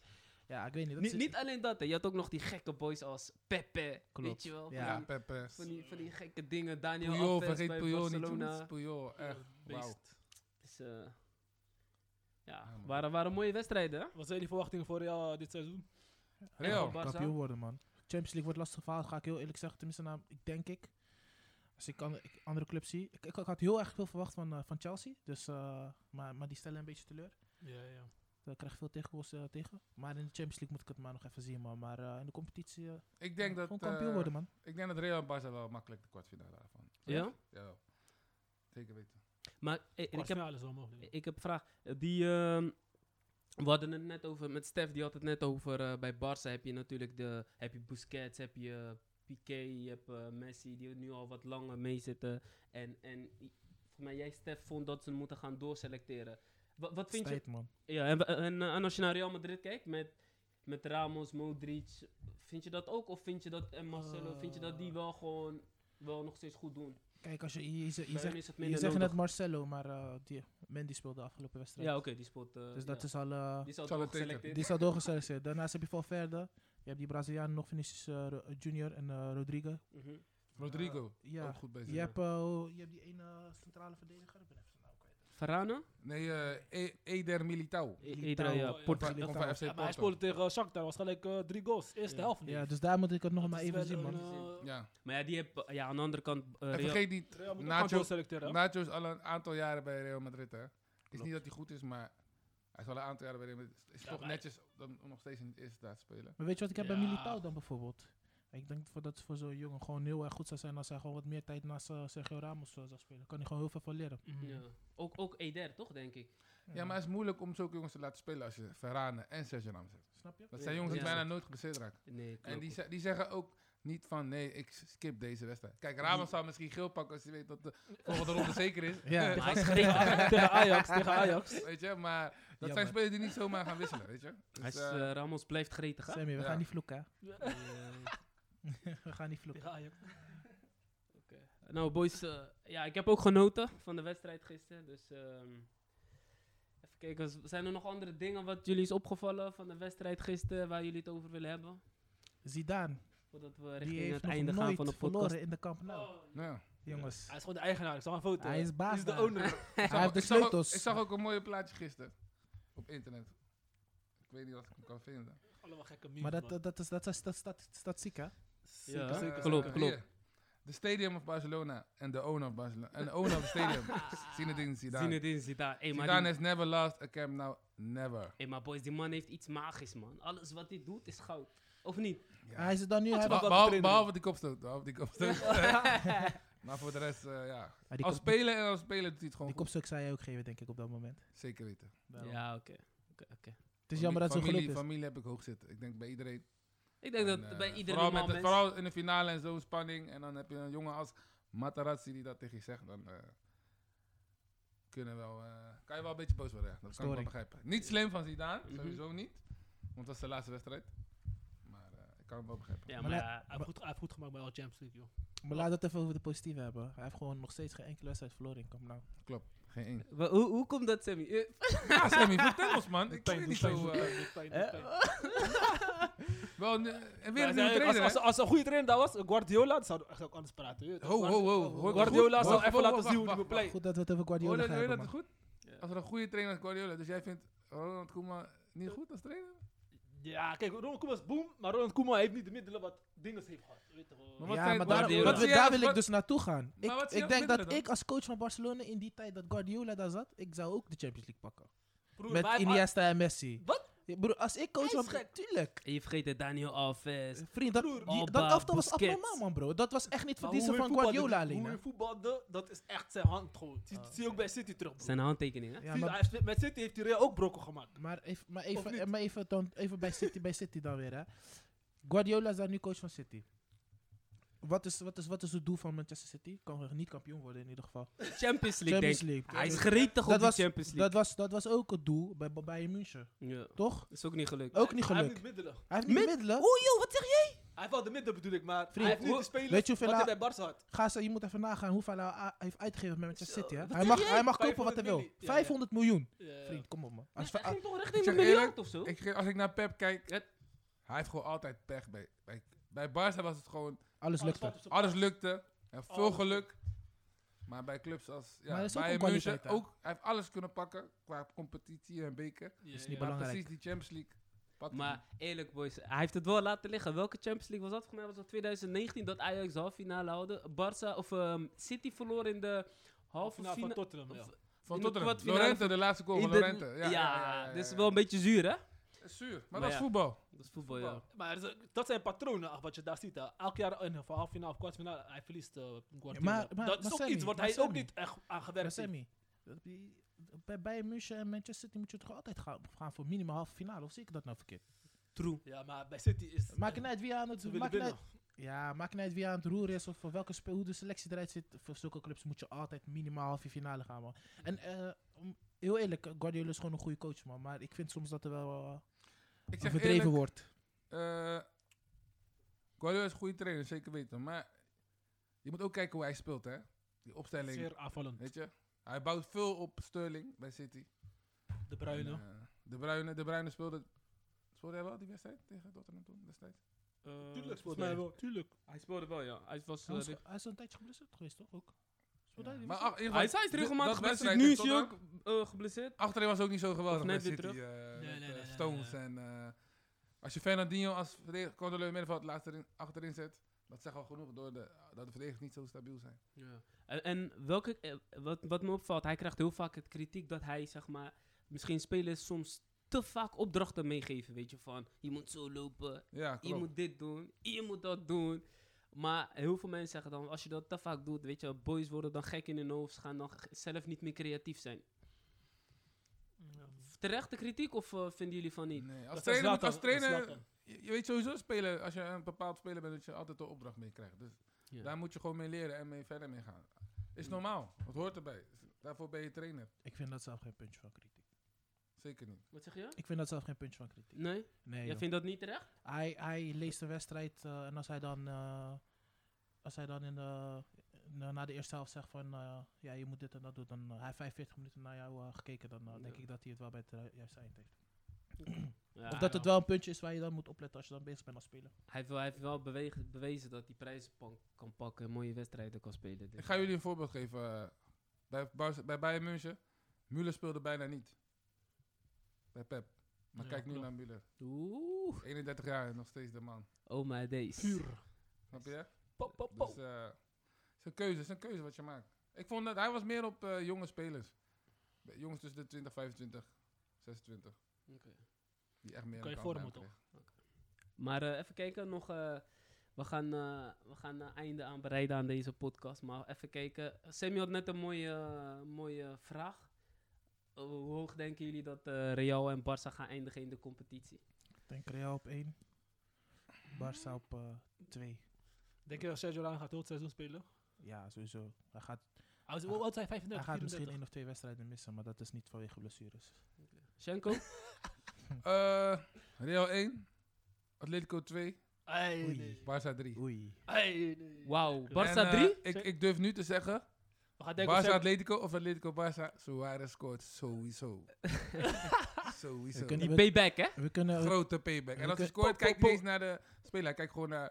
ja, ik weet niet. Dat
Niet,
is-
niet alleen dat, hè. je had ook nog die gekke boys als Pepe, weet
Klopt,
je wel. van
Ja,
Ja.
die-
Pepe.
Van die, van die gekke dingen. Daniel
Puyol,
Alves
vergeet
bij
Puyol niet.
Barcelona.
jongens. Puyol, echt. Wauw.
Dus, eh, ja,
man.
waren, waren mooie wedstrijden. hè?
Wat zijn die verwachtingen voor jou dit seizoen?
Real.
Barca.
kampioen worden, man. Champions League wordt lastig verhaal, ga ik heel eerlijk zeggen. Tenminste, nou, ik denk ik. Als ik, an- ik andere clubs zie. Ik, ik, ik had heel erg veel verwacht van, eh, van Chelsea. Dus, eh, maar, maar die stellen een beetje teleur.
Ja, ja.
Daar krijg ik veel tegengoals eh, tegen. Maar in de Champions League moet ik het maar nog even zien, man. Maar eh, in de competitie... eh,
Ik denk dat...
gewoon kampioen
eh,
worden, man.
Ik denk dat Real en Barca wel makkelijk de kwartfinale daarvan.
Ja?
Jawel. Zeker weten.
Maar eh, ik, heb,
Kwartfinale is wel mogelijk.
ik heb een vraag. Eh, Die, ehm, we hadden het net over, met Stef, die had het net over, eh, bij Barça heb je natuurlijk de, heb je Busquets, heb je eh, Piqué, je hebt eh, Messi, die nu al wat langer mee zitten. En, en i- volgens mij jij, Stef, vond dat ze moeten gaan doorselecteren. Wat, wat vind je,
Strijd, man.
Ja, en, en, eh, en als je naar Real Madrid kijkt met, met Ramos, Modric, vind je dat ook? Of vind je dat, en Marcelo, vind je dat die wel gewoon wel nog steeds goed doen?
Kijk, als je, je,
Bij
je, zegt,
hen is het
je
minder
zegt net
nodig.
Marcelo, maar eh, die, Mendy speelde de afgelopen wedstrijd.
Ja, oké, die spot. eh,
Dus dat
ja.
is al... eh,
Die is al
Zal het
doorgeselecteerd.
Die is al doorgeselecteerd. Daarnaast heb je Valverde. Je hebt die Brazilianen nog, Vinicius eh, Ro- Junior en eh Rodrigo.
Mhm.
Rodrigo,
ja.
ook goed bezig.
Je hebt, eh, je hebt die ene centrale verdediger. Ik ben even zijn naam kwijt.
Varane?
Nee, eh, E- Eder Militao.
I-
Militao,
Iedere ja,
eh,
Komt
Portu-
van- komt van
Militao.
FC
Ja, maar hij speelde
Porto.
tegen Shakhtar. was gelijk eh, drie goals. Eerste
Ja.
helft niet.
Ja, dus daar moet ik het nog
Dat
maar
is
even
wel
zien,
een,
man.
eh,
Ja.
Maar ja, die heb, ja, aan de andere kant... eh,
En
Real-
vergeet niet,
Real moet ook
Nacho-
gaan doorselecteren, hè?
Nacho is al een aantal jaren bij Real Madrid, hè. is
Klopt.
niet dat hij goed is, maar hij is al een aantal jaren bij Real Madrid. Het is
Ja,
toch
maar-
netjes om om nog steeds in het eerste daar te spelen.
Maar weet je wat ik heb bij
Ja.
Militao dan bijvoorbeeld? Ik denk voor- dat het voor zo'n jongen gewoon heel erg goed zou zijn als hij gewoon wat meer tijd naast eh, Sergio Ramos eh, zou spelen. Kan hij gewoon heel veel van leren.
ja. Ook, ook Eder, toch, denk ik?
Ja, maar het is moeilijk om zulke jongens te laten spelen als je Verane en Sergio Ramos hebt.
Snap je?
Dat
Ja,
zijn jongens die
ja.
bijna nooit geblesseerd raken.
Nee, klopt.
En die, ze- die zeggen ook niet van nee, ik s- skip deze wedstrijd. Kijk, Ramos zou misschien geel pakken als hij weet dat de volgende ronde zeker
[LAUGHS]
is. [LAUGHS]
Ja.
[LAUGHS] Maar hij is gek. [LAUGHS]
tegen Ajax, tegen Ajax.
weet je, maar dat zijn
Jammer.
spelers die niet zomaar gaan wisselen, weet je. Dus,
Hij is,
eh,
eh, Ramos blijft gretig, hè?
Sammy, we
Ja.
gaan niet vloeken, hè?
Eh,
We gaan niet vloeken.
Tegen Ajax.
Nou, boys, eh, ja, ik heb ook genoten van de wedstrijd gisteren. Dus ehm, even kijken, z- zijn er nog andere dingen wat jullie is opgevallen van de wedstrijd gisteren waar jullie het over willen hebben?
Zidane,
Voordat we
die
richting
heeft
het
nog
einde gaan
nooit
van de podcast.
verloren in de kamp nou.
nou ja.
Jongens,
Hij is gewoon de eigenaar. Ik zag een foto.
Hij is baas
Hij is de
daar.
owner.
hij heeft de
Ik zag ook-
sleutels.
Ik zag ook een mooie plaatje gisteren op internet. Ik weet niet of ik hem kan vinden.
allemaal gekke memes,
Maar dat,
man.
dat, dat is, dat is, dat is, dat is statistiek, hè?
Zeker,
Ja,
zeker,
Eh,
klopt,
hier.
zeker.
klopt.
De Stadium of Barcelona en de owner of Barcelona. En de owner of the
[LAUGHS]
Stadium. Zinedine Zidane. Zinedine
Zinedine Zidane. Hey, maar
Zidane
die-
has never lost a Camp Nou. Never.
hey, maar boys, die man heeft iets magisch, man. Alles wat hij doet is goud. Of niet?
Hij is er dan nu. Hij
Beha-
wordt-
behalve, behalve die kopstoot. Behalve die
[LAUGHS]
kopstoot. [LAUGHS] maar voor de rest, eh, ja.
Ah, die
Als
kop- die-
speler en als speler doet hij het gewoon
Die
goed.
kopstuk zou je ook geven, denk ik, op dat moment.
Zeker weten.
Daarom.
Ja, oké. oké, oké.
Het is jammer dat zo'n
familie,
geluk is.
familie heb ik hoog zitten. Ik denk bij iedereen.
Ik denk
En,
dat
eh,
bij iedere
vooral,
normaal
met de-
mens...
vooral in de finale en zo'n spanning. En dan heb je een jongen als Materazzi die dat tegen je zegt. Dan eh, kunnen wel, eh, kan je wel een beetje boos worden. ja. Dat kan ik wel
Storing.
begrijpen. Niet slim van Zidane,
Mhm.
sowieso niet. Want dat is de laatste wedstrijd. Maar eh, ik kan hem wel begrijpen.
Ja,
Maar
maar...
laat-
Hij
eh,
heeft, goed, hij heeft goed gemaakt bij al Champions League, joh.
Maar laten we het even over de positieve hebben. Hij heeft gewoon nog steeds geen enkele wedstrijd verloren in Camp Nou.
Klopt, geen één.
wa- hoe, hoe komt dat, Sammy? Eh,
[LAUGHS] Ja, Sammy, vertel ons man. Ik
Pijn
weet
doet
niet
pijn,
zo...
doet
eh,
pijn, doet pijn, doet pijn.
wel, nu- en weer
Maar hij
een nieuwe
zei, als-
trainer,
Als
hè?
als een goede trainer daar was, Guardiola, dan zou ik ook anders praten. weet je.
Ho, ho, ho. Hoor-
Guardiola
goed?
zou
Ho,
even
ho,
laten
wacht,
zien hoe
wacht,
die
wacht,
play.
Goed dat we het over
Hoor
Guardiola
je
gaan
hoor je
hebben,
dat
man.
het goed? Als er een goede trainer is Guardiola, dus jij vindt Ronald Koeman niet goed als trainer?
Ja, kijk, Ronald Koeman is boom, maar Ronald Koeman heeft niet de middelen wat Dinges heeft gehad. Weet je wel.
Maar wat
Ja,
zei
maar
Guardiola?
daarom-
Wat
dat-
zie jij
daar
als-
wil ik
wat-
dus naartoe gaan.
Maar wat
Ik,
zie je
ik denk
als
dat
middelen dan?
ik als coach van Barcelona in die tijd dat Guardiola daar zat, ik zou ook de Champions League pakken.
Broer,
Met
maar hij-
Iniesta en Messi.
Wat?
Ja, broer, als ik coach
Hij
was,
is gek.
tuurlijk.
Je vergeet het, Daniel Alves.
Vriend, dat,
Broer,
die,
Alba,
dat elftal was
Busquets.
abnormaal, man, bro. Dat was echt niet
maar hoe
verdienste
hij
van
voetbalde,
Guardiola
die-
alleen.
Hoe
hè.
hij voetbalde, dat is echt zijn hand gewoon. Zie, zie je ook bij City terug, broer.
Zijn handtekening, hè?
Ja,
Zie-
maar,
hij heeft- met City heeft hij Real ook brokken gemaakt.
maar even, maar
Of niet?
even, maar even, dan, even bij, City, bij City dan weer, hè. Guardiola is daar nu coach van City. Wat is, wat, is, wat is het doel van Manchester City? Kan niet kampioen worden in ieder geval.
Champions League, denk
Champions
ik.
League.
Hij is gereed toch op
Dat
de
was-
Champions League?
Dat was, dat was ook het doel bij bij Bayern München,
Ja.
toch?
Is ook niet gelukt.
Ook niet
Hij heeft niet
gelukt.
de middelen.
Hij heeft niet
Mid-
middelen.
Hij heeft wel de middelen bedoel ik, maar
Vriend,
hij heeft niet
hoe-
de spelers
weet je hoeveel
wat
hij-
hij bij Barca had.
Ga ze, je moet even nagaan hoeveel hij a- heeft uitgegeven met Manchester City. Hè?
wat
Hij,
zeg
mag,
jij?
hij mag kopen wat
500
hij wil.
miljoen. Ja, ja.
500 miljoen.
Ja.
Vriend, Ah, kom op man.
Hij
Als, we-
ging toch
Ik
richting een
zeg
miljard
eerlijk,
of zo?
Ik, ge- als ik naar Pep kijk, hij heeft gewoon altijd pech. Bij, bij, bij Barca was het gewoon,
a- alles
Alles
lukt
valt
er.
op zijn
alles
plaats.
lukte. En veel
Alles
geluk. Maar bij clubs als ja,
Maar dat is ook
Bayern
een
München,
kwaliteit, hè?
ook, hij heeft alles kunnen pakken qua competitie en beker.
Ja,
is
ja.
niet
Maar
Belangrijk.
precies die Champions League pakt hij niet.
Maar eerlijk, boys, hij heeft het wel laten liggen. Welke Champions League was dat? Voor mij was dat 2019 dat Ajax halve finale hadden. Barça of ehm, City verloor in de halve
Finale van
finale.
Tottenham, ja.
van
in de
Tottenham.
kwartfinale
Lorente, de laatste goal van
in de-
Lorente. Ja, ja, ja, ja, ja,
dit is
ja.
dus wel een beetje zuur, hè?
Het is Zuur, maar,
Maar
dat is
ja.
voetbal.
Dat is voetbal, Oh, ja.
Maar dat is- dat zijn patronen ach, wat je daar ziet. hè. Elk jaar in een halve finale of kwartfinale, hij verliest eh Guardiola.
maar- maar-
dat is
maar
ook
Sammy,
iets wat
maar
hij ook
Sammy.
niet echt aan
Maar
gewerkt heeft.
Sammy, dat- die- bij Bayern München en Manchester City moet je toch altijd gaan, gaan voor minimaal halve finale? Of zie ik dat nou verkeerd?
True.
Ja, maar bij City is...
Maakt niet uit wie aan
Eh, Ze
het,
willen
maakt niet
winnen.
uit, ja, maakt niet uit wie aan het roeren is of voor welke spe, hoe de selectie eruit zit. Voor zulke clubs moet je altijd minimaal halve finale gaan man. En eh, om- heel eerlijk, Guardiola is gewoon een goede coach man. Maar ik vind soms dat er wel eh,
Ik zeg
overdreven
eerlijk,
wordt.
Eh Guardiola is een goede trainer, zeker weten. Maar je moet ook kijken hoe hij speelt, hè. Die opstelling,
Zeer aanvallend.
weet je. Hij bouwt veel op Sterling bij City.
De Bruyne.
En, eh, de Bruyne. De Bruyne speelde... Speelde hij wel die wedstrijd tegen Tottenham toen destijds?
Eh,
tuurlijk, volgens mij wel. Tuurlijk.
Hij speelde wel, ja. Hij was...
Hij is, hij is al een tijdje geblesseerd geweest, toch? Ook. Speelde hij die
Maar
wedstrijd?
ach, in ieder
hij
geval,
is
de-
regelmatig
dat
geblesseerd.
wedstrijd
Nu
tegen
is hij ook
Tottenham,
eh, geblesseerd.
Achterin was ook niet zo geweldig
Of
bij
net weer
City.
terug.
eh,
Nee,
met,
nee,
eh,
nee, nee,
Stones
nee.
en... eh, als je Fernandinho als verdediger- controleur middenveld laatst erin- achterin zet... Dat zegt al genoeg door de, dat de verdedigers niet zo stabiel zijn.
En, en welke, eh, wat, wat me opvalt, hij krijgt heel vaak het kritiek dat hij, zeg maar, misschien spelers soms te vaak opdrachten meegeven. Weet je, van je moet zo lopen,
Ja,
je
klopt.
moet dit doen, je moet dat doen. Maar heel veel mensen zeggen dan, als je dat te vaak doet, weet je, boys worden dan gek in hun hoofd, ze gaan dan g- zelf niet meer creatief zijn. Terechte kritiek of eh, vinden jullie van niet?
Nee,
Dat
als
is
trainer, moet-
Zlatan,
als
dat is
trainer
Zlatan.
je, je weet sowieso spelen, als je een bepaald speler bent, dat je altijd een opdracht mee krijgt. Dus
Ja.
daar moet je gewoon mee leren en mee verder mee gaan. Is
Mm.
normaal, dat hoort erbij. Daarvoor ben je trainer.
Ik vind dat zelf geen puntje van kritiek.
Zeker niet.
Wat zeg je?
Ik vind dat zelf geen puntje van kritiek.
Nee?
Nee,
Jij
joh.
vindt dat niet terecht?
hij, hij leest de wedstrijd eh, en als hij dan, eh, als hij dan in de, na- na de eerste helft zegt van eh, ja, je moet dit en dat doen, dan eh, hij heeft 45 minuten naar jou eh, gekeken, dan eh, denk
Ja.
ik dat hij het wel bij het eh, juiste eind heeft.
Ja,
of dat het wel een puntje is waar je dan moet opletten als je dan bezig bent als speler.
Hij heeft wel, hij heeft wel bewegen- bewezen dat hij prijzen pan- kan pakken en mooie wedstrijden kan spelen. dus.
Ik ga jullie een voorbeeld geven. eh, bij, Barca- bij Bayern München, Müller speelde bijna niet. Bij Pep. Maar
Ja,
kijk nu
klopt.
naar Müller.
Oeh.
31 jaar en nog steeds de man.
Oh my days.
Puur.
Snap je?
Pop, pop,
Dus
pop.
eh, het is een keuze, het is een keuze wat je maakt. Ik vond dat hij was meer op eh, jonge spelers. Bij Jongens tussen de 20, 25, 26.
Oké.
Die echt meer
Kan je
een
vormen,
kans
toch?
kregen.
Maar eh, even kijken, nog. eh, we gaan, eh we gaan een einde aan bereiden aan deze podcast. Maar even kijken. Sammy had net een mooie, eh, mooie vraag. Eh, hoe hoog denken jullie dat eh, Real en Barça gaan eindigen in de competitie?
Ik denk Real op 1. Barça op eh, 2.
Denk je dat Sergio Ramos gaat heel het seizoen spelen?
ja, sowieso. Hij gaat,
Hij is- hoe oud is hij?
hij
35,
gaat misschien
34?
één of twee wedstrijden missen, maar dat is niet vanwege blessures.
Schenko?
Eh, Real 1, Atletico 2,
Ai,
Oei.
nee.
Barca 3.
Oei.
Ai, nee.
Wauw.
En,
Barça
eh,
3?
ik, ik durf nu te zeggen,
We gaan denken op
Barca
Sergio-
Atletico of Atletico Barca, Suarez
[LAUGHS]
scoort sowieso. sowieso.
We kunnen-
Die payback, hè?
We kunnen, we,
Grote payback. En als hij
Oké.
scoort, kijk
po.
niet eens naar de speler. hij Kijkt gewoon naar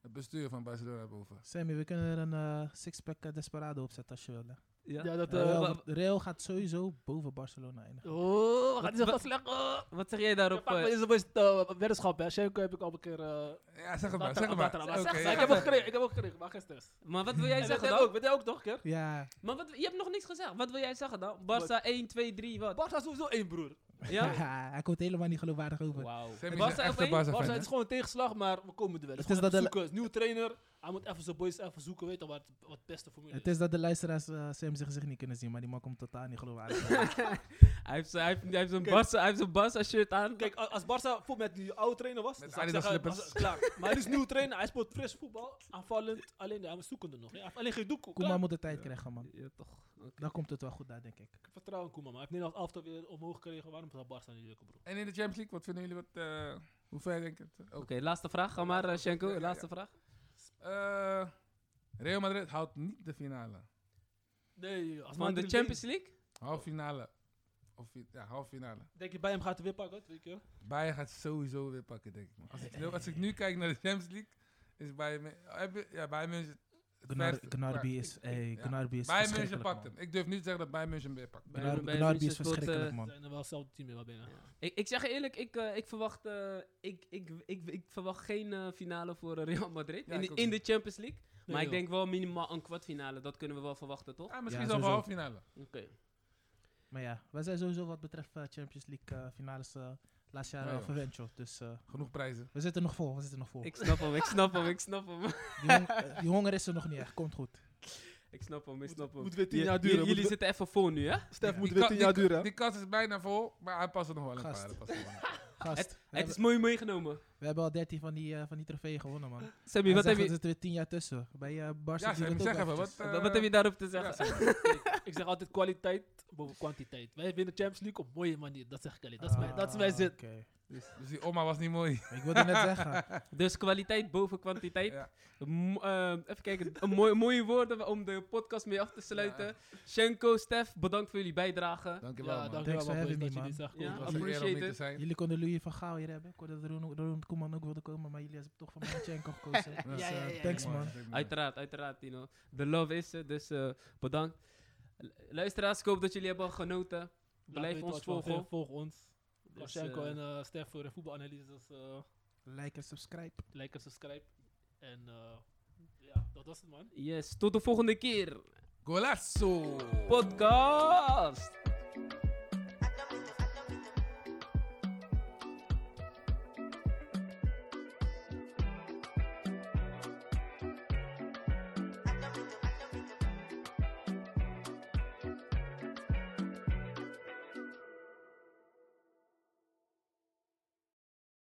het bestuur van Barcelona boven.
Sammy, we kunnen er een eh, sixpack eh, Desperado op zetten als je wil. hè.
Ja, dat... eh,
Real,
wa-
wordt- Real gaat sowieso boven Barcelona eindigen.
Oh, gaat hij zo
wa-
vast slecht? Oh.
Wat zeg jij
Ja,
daarop?
pak maar
eh,
eens een beetje, eh, weddenschap, hè. Sherko heb ik al een keer... eh,
Ja, zeg het maar,
later-
zeg het
later-
maar.
later-
Oké,
zeg-
ja.
Ik heb ook gekregen, ik heb ook gekregen, maar gisteren.
maar wat wil jij
Hij zegt
zeggen
dat oh, ook,
dan?
weet jij ook toch, keer?
Ja,
Maar wat, je hebt nog niks gezegd. Wat wil jij zeggen dan? Barça 1, 2, 3, wat?
Barca is sowieso één broer.
[LAUGHS]
Ja?
hij komt helemaal niet geloofwaardig over.
Wauw.
Sammy
Barça
is een echte
op één?
Barca fan.
Barca
hè?
is gewoon een tegenslag, maar we komen er wel. Het
Het
is
is
gewoon even
dat de-
zoeken. Het is een nieuwe trainer. Hij moet even zijn boys even zoeken, weet je wat, wat het beste formule
Het
is.
is dat de luisteraars eh Sam zijn gezicht niet kunnen zien, maar die man komt totaal niet geloofwaardig over.
Hij heeft zijn- hij heeft- hij heeft zijn
Kijk.
Barça- hij heeft zijn Barça shirt aan.
Kijk, a- als Barca voor met die oude trainer was,
Met
dan zou ik
Adidas
zeggen,
slippers.
Barca is klaar. [LAUGHS] Maar hij is een nieuwe trainer, hij speelt fris voetbal, aanvallend. Alleen hij is zoekende nog. hè. Alleen geen doek.
Koeman
Klaar.
moet de tijd krijgen, man.
Ja, toch.
Dan komt het wel goed daar, denk ik.
Vertrouwen in Koeman, maar hij heeft Nederlands elftal weer omhoog gekregen. Waarom zou Barca niet lukken, bro?
En in de Champions League, wat vinden jullie? Wat, eh, hoe ver denk je het? Ook.
Oké, laatste vraag. Ga maar, eh, Schenko.
Ja, ja, ja.
Laatste vraag.
Eh, Real Madrid houdt niet de finale.
Nee, als
Van de
Madrid
Champions League?
Half finale. Of fi- ja, half finale.
wint, Denk je bij hem gaat hij weer pakken, twee keer?
Bayern gaat sowieso weer pakken, denk ik. man. Als ik, nu- als ik nu kijk naar de Champions League, is Bayern... Mu- heb je- Ja, Bayern München... het
Gnar-
verste.
Gnarby
Maar-
is, hey,
ja.
Gnarby is
Bayern München
verschrikkelijk,
pakt
man.
hem. Ik durf niet te zeggen dat Bayern München hem weer pakt.
Bayern-
Gnar-
Bayern
Gnarby
München
is
speelt,
verschrikkelijk,
We
eh,
man.
zijn er wel hetzelfde team weer wel binnen.
Ik, ik zeg je eerlijk, ik, eh, ik verwacht, eh, ik, ik, ik, ik verwacht geen eh, finale voor eh, Real Madrid
Ja,
in,
ik
de,
ook
in de
niet.
Champions League.
Nee,
maar ik
joh.
denk wel minimaal een kwartfinale. Dat kunnen we wel verwachten, toch?
Ja, misschien
Ja,
zelfs
sowieso.
half finale.
Oké.
Maar ja, wij zijn sowieso wat betreft eh, Champions League eh, finales eh laatst jaar
Ja,
eh,
joh.
verwend, joh. Dus eh,
Genoeg prijzen.
we zitten nog vol, we zitten nog vol.
Ik snap hem, ik snap hem, ik snap hem. [LAUGHS]
Die, hong- eh, die honger is er nog niet echt, komt goed.
Ik snap hem, ik snap hem.
moet weer tien
Je-
jaar
je-
duren, moet
Jullie
weer-
zitten even voor nu, hè?
Stef moet
Die
weer
ka-
tien
die
jaar
ka-
duren. hè?
Die kast is bijna vol, maar hij past er nog wel een
Gast.
paar. hij past er wel een paar.
Gast,
Het,
we,
het is
hebben,
mooi meegenomen.
we hebben al 13 van die, eh, van die trofeeën gewonnen, man.
Sammy, wat
Hij
heb,
zegt,
je,
Er zitten weer 10 jaar tussen. Bij eh Barca
Ja,
duurt
Sammy,
het
zeg
ook
even. Wat,
eventjes.
eh,
wat heb je daarop te
ja,
zeggen?
zeg
Ik zeg altijd kwaliteit boven kwantiteit. Wij winnen Champions League op mooie manier. Dat zeg ik alleen. Dat is mijn, dat is mijn
Ah,
zin.
oké.
Dus die oma was niet mooi.
Ik wilde net zeggen.
Dus kwaliteit boven kwantiteit.
Ja.
M- eh, even kijken, een mooi, mooie woorden om de podcast mee af te sluiten. Schenko, Stef, bedankt voor jullie bijdrage.
Dankjewel,
Ja,
man.
dankjewel
Thanks for
man, boys,
having me,
dat jullie
man.
zijn
Ja.
Het was
gekomen.
een eer om
Appreciate
hier te
it.
zijn.
Jullie konden Louis van Gaal hier hebben. Ik hoorde dat Ron, Ron Koeman ook wilde komen, maar jullie hebben toch voor Manchenko gekozen. Dus,
ja, ja,
eh,
ja,
thanks
Mooi,
man.
dat is mooi.
Uiteraard, uiteraard, you know. De love is er, dus eh, bedankt. L- Luisteraars, ik hoop dat jullie hebben genoten. Blijf
weten wat
ons
je van
volgen.
vindt, Volg ons.
Dus,
Marchenko
eh,
en eh, Stef voor de voetbalanalyses. eh,
Like en subscribe.
like en subscribe. En eh, ja, dat was het man.
yes, tot de volgende keer.
Golazo!
Podcast!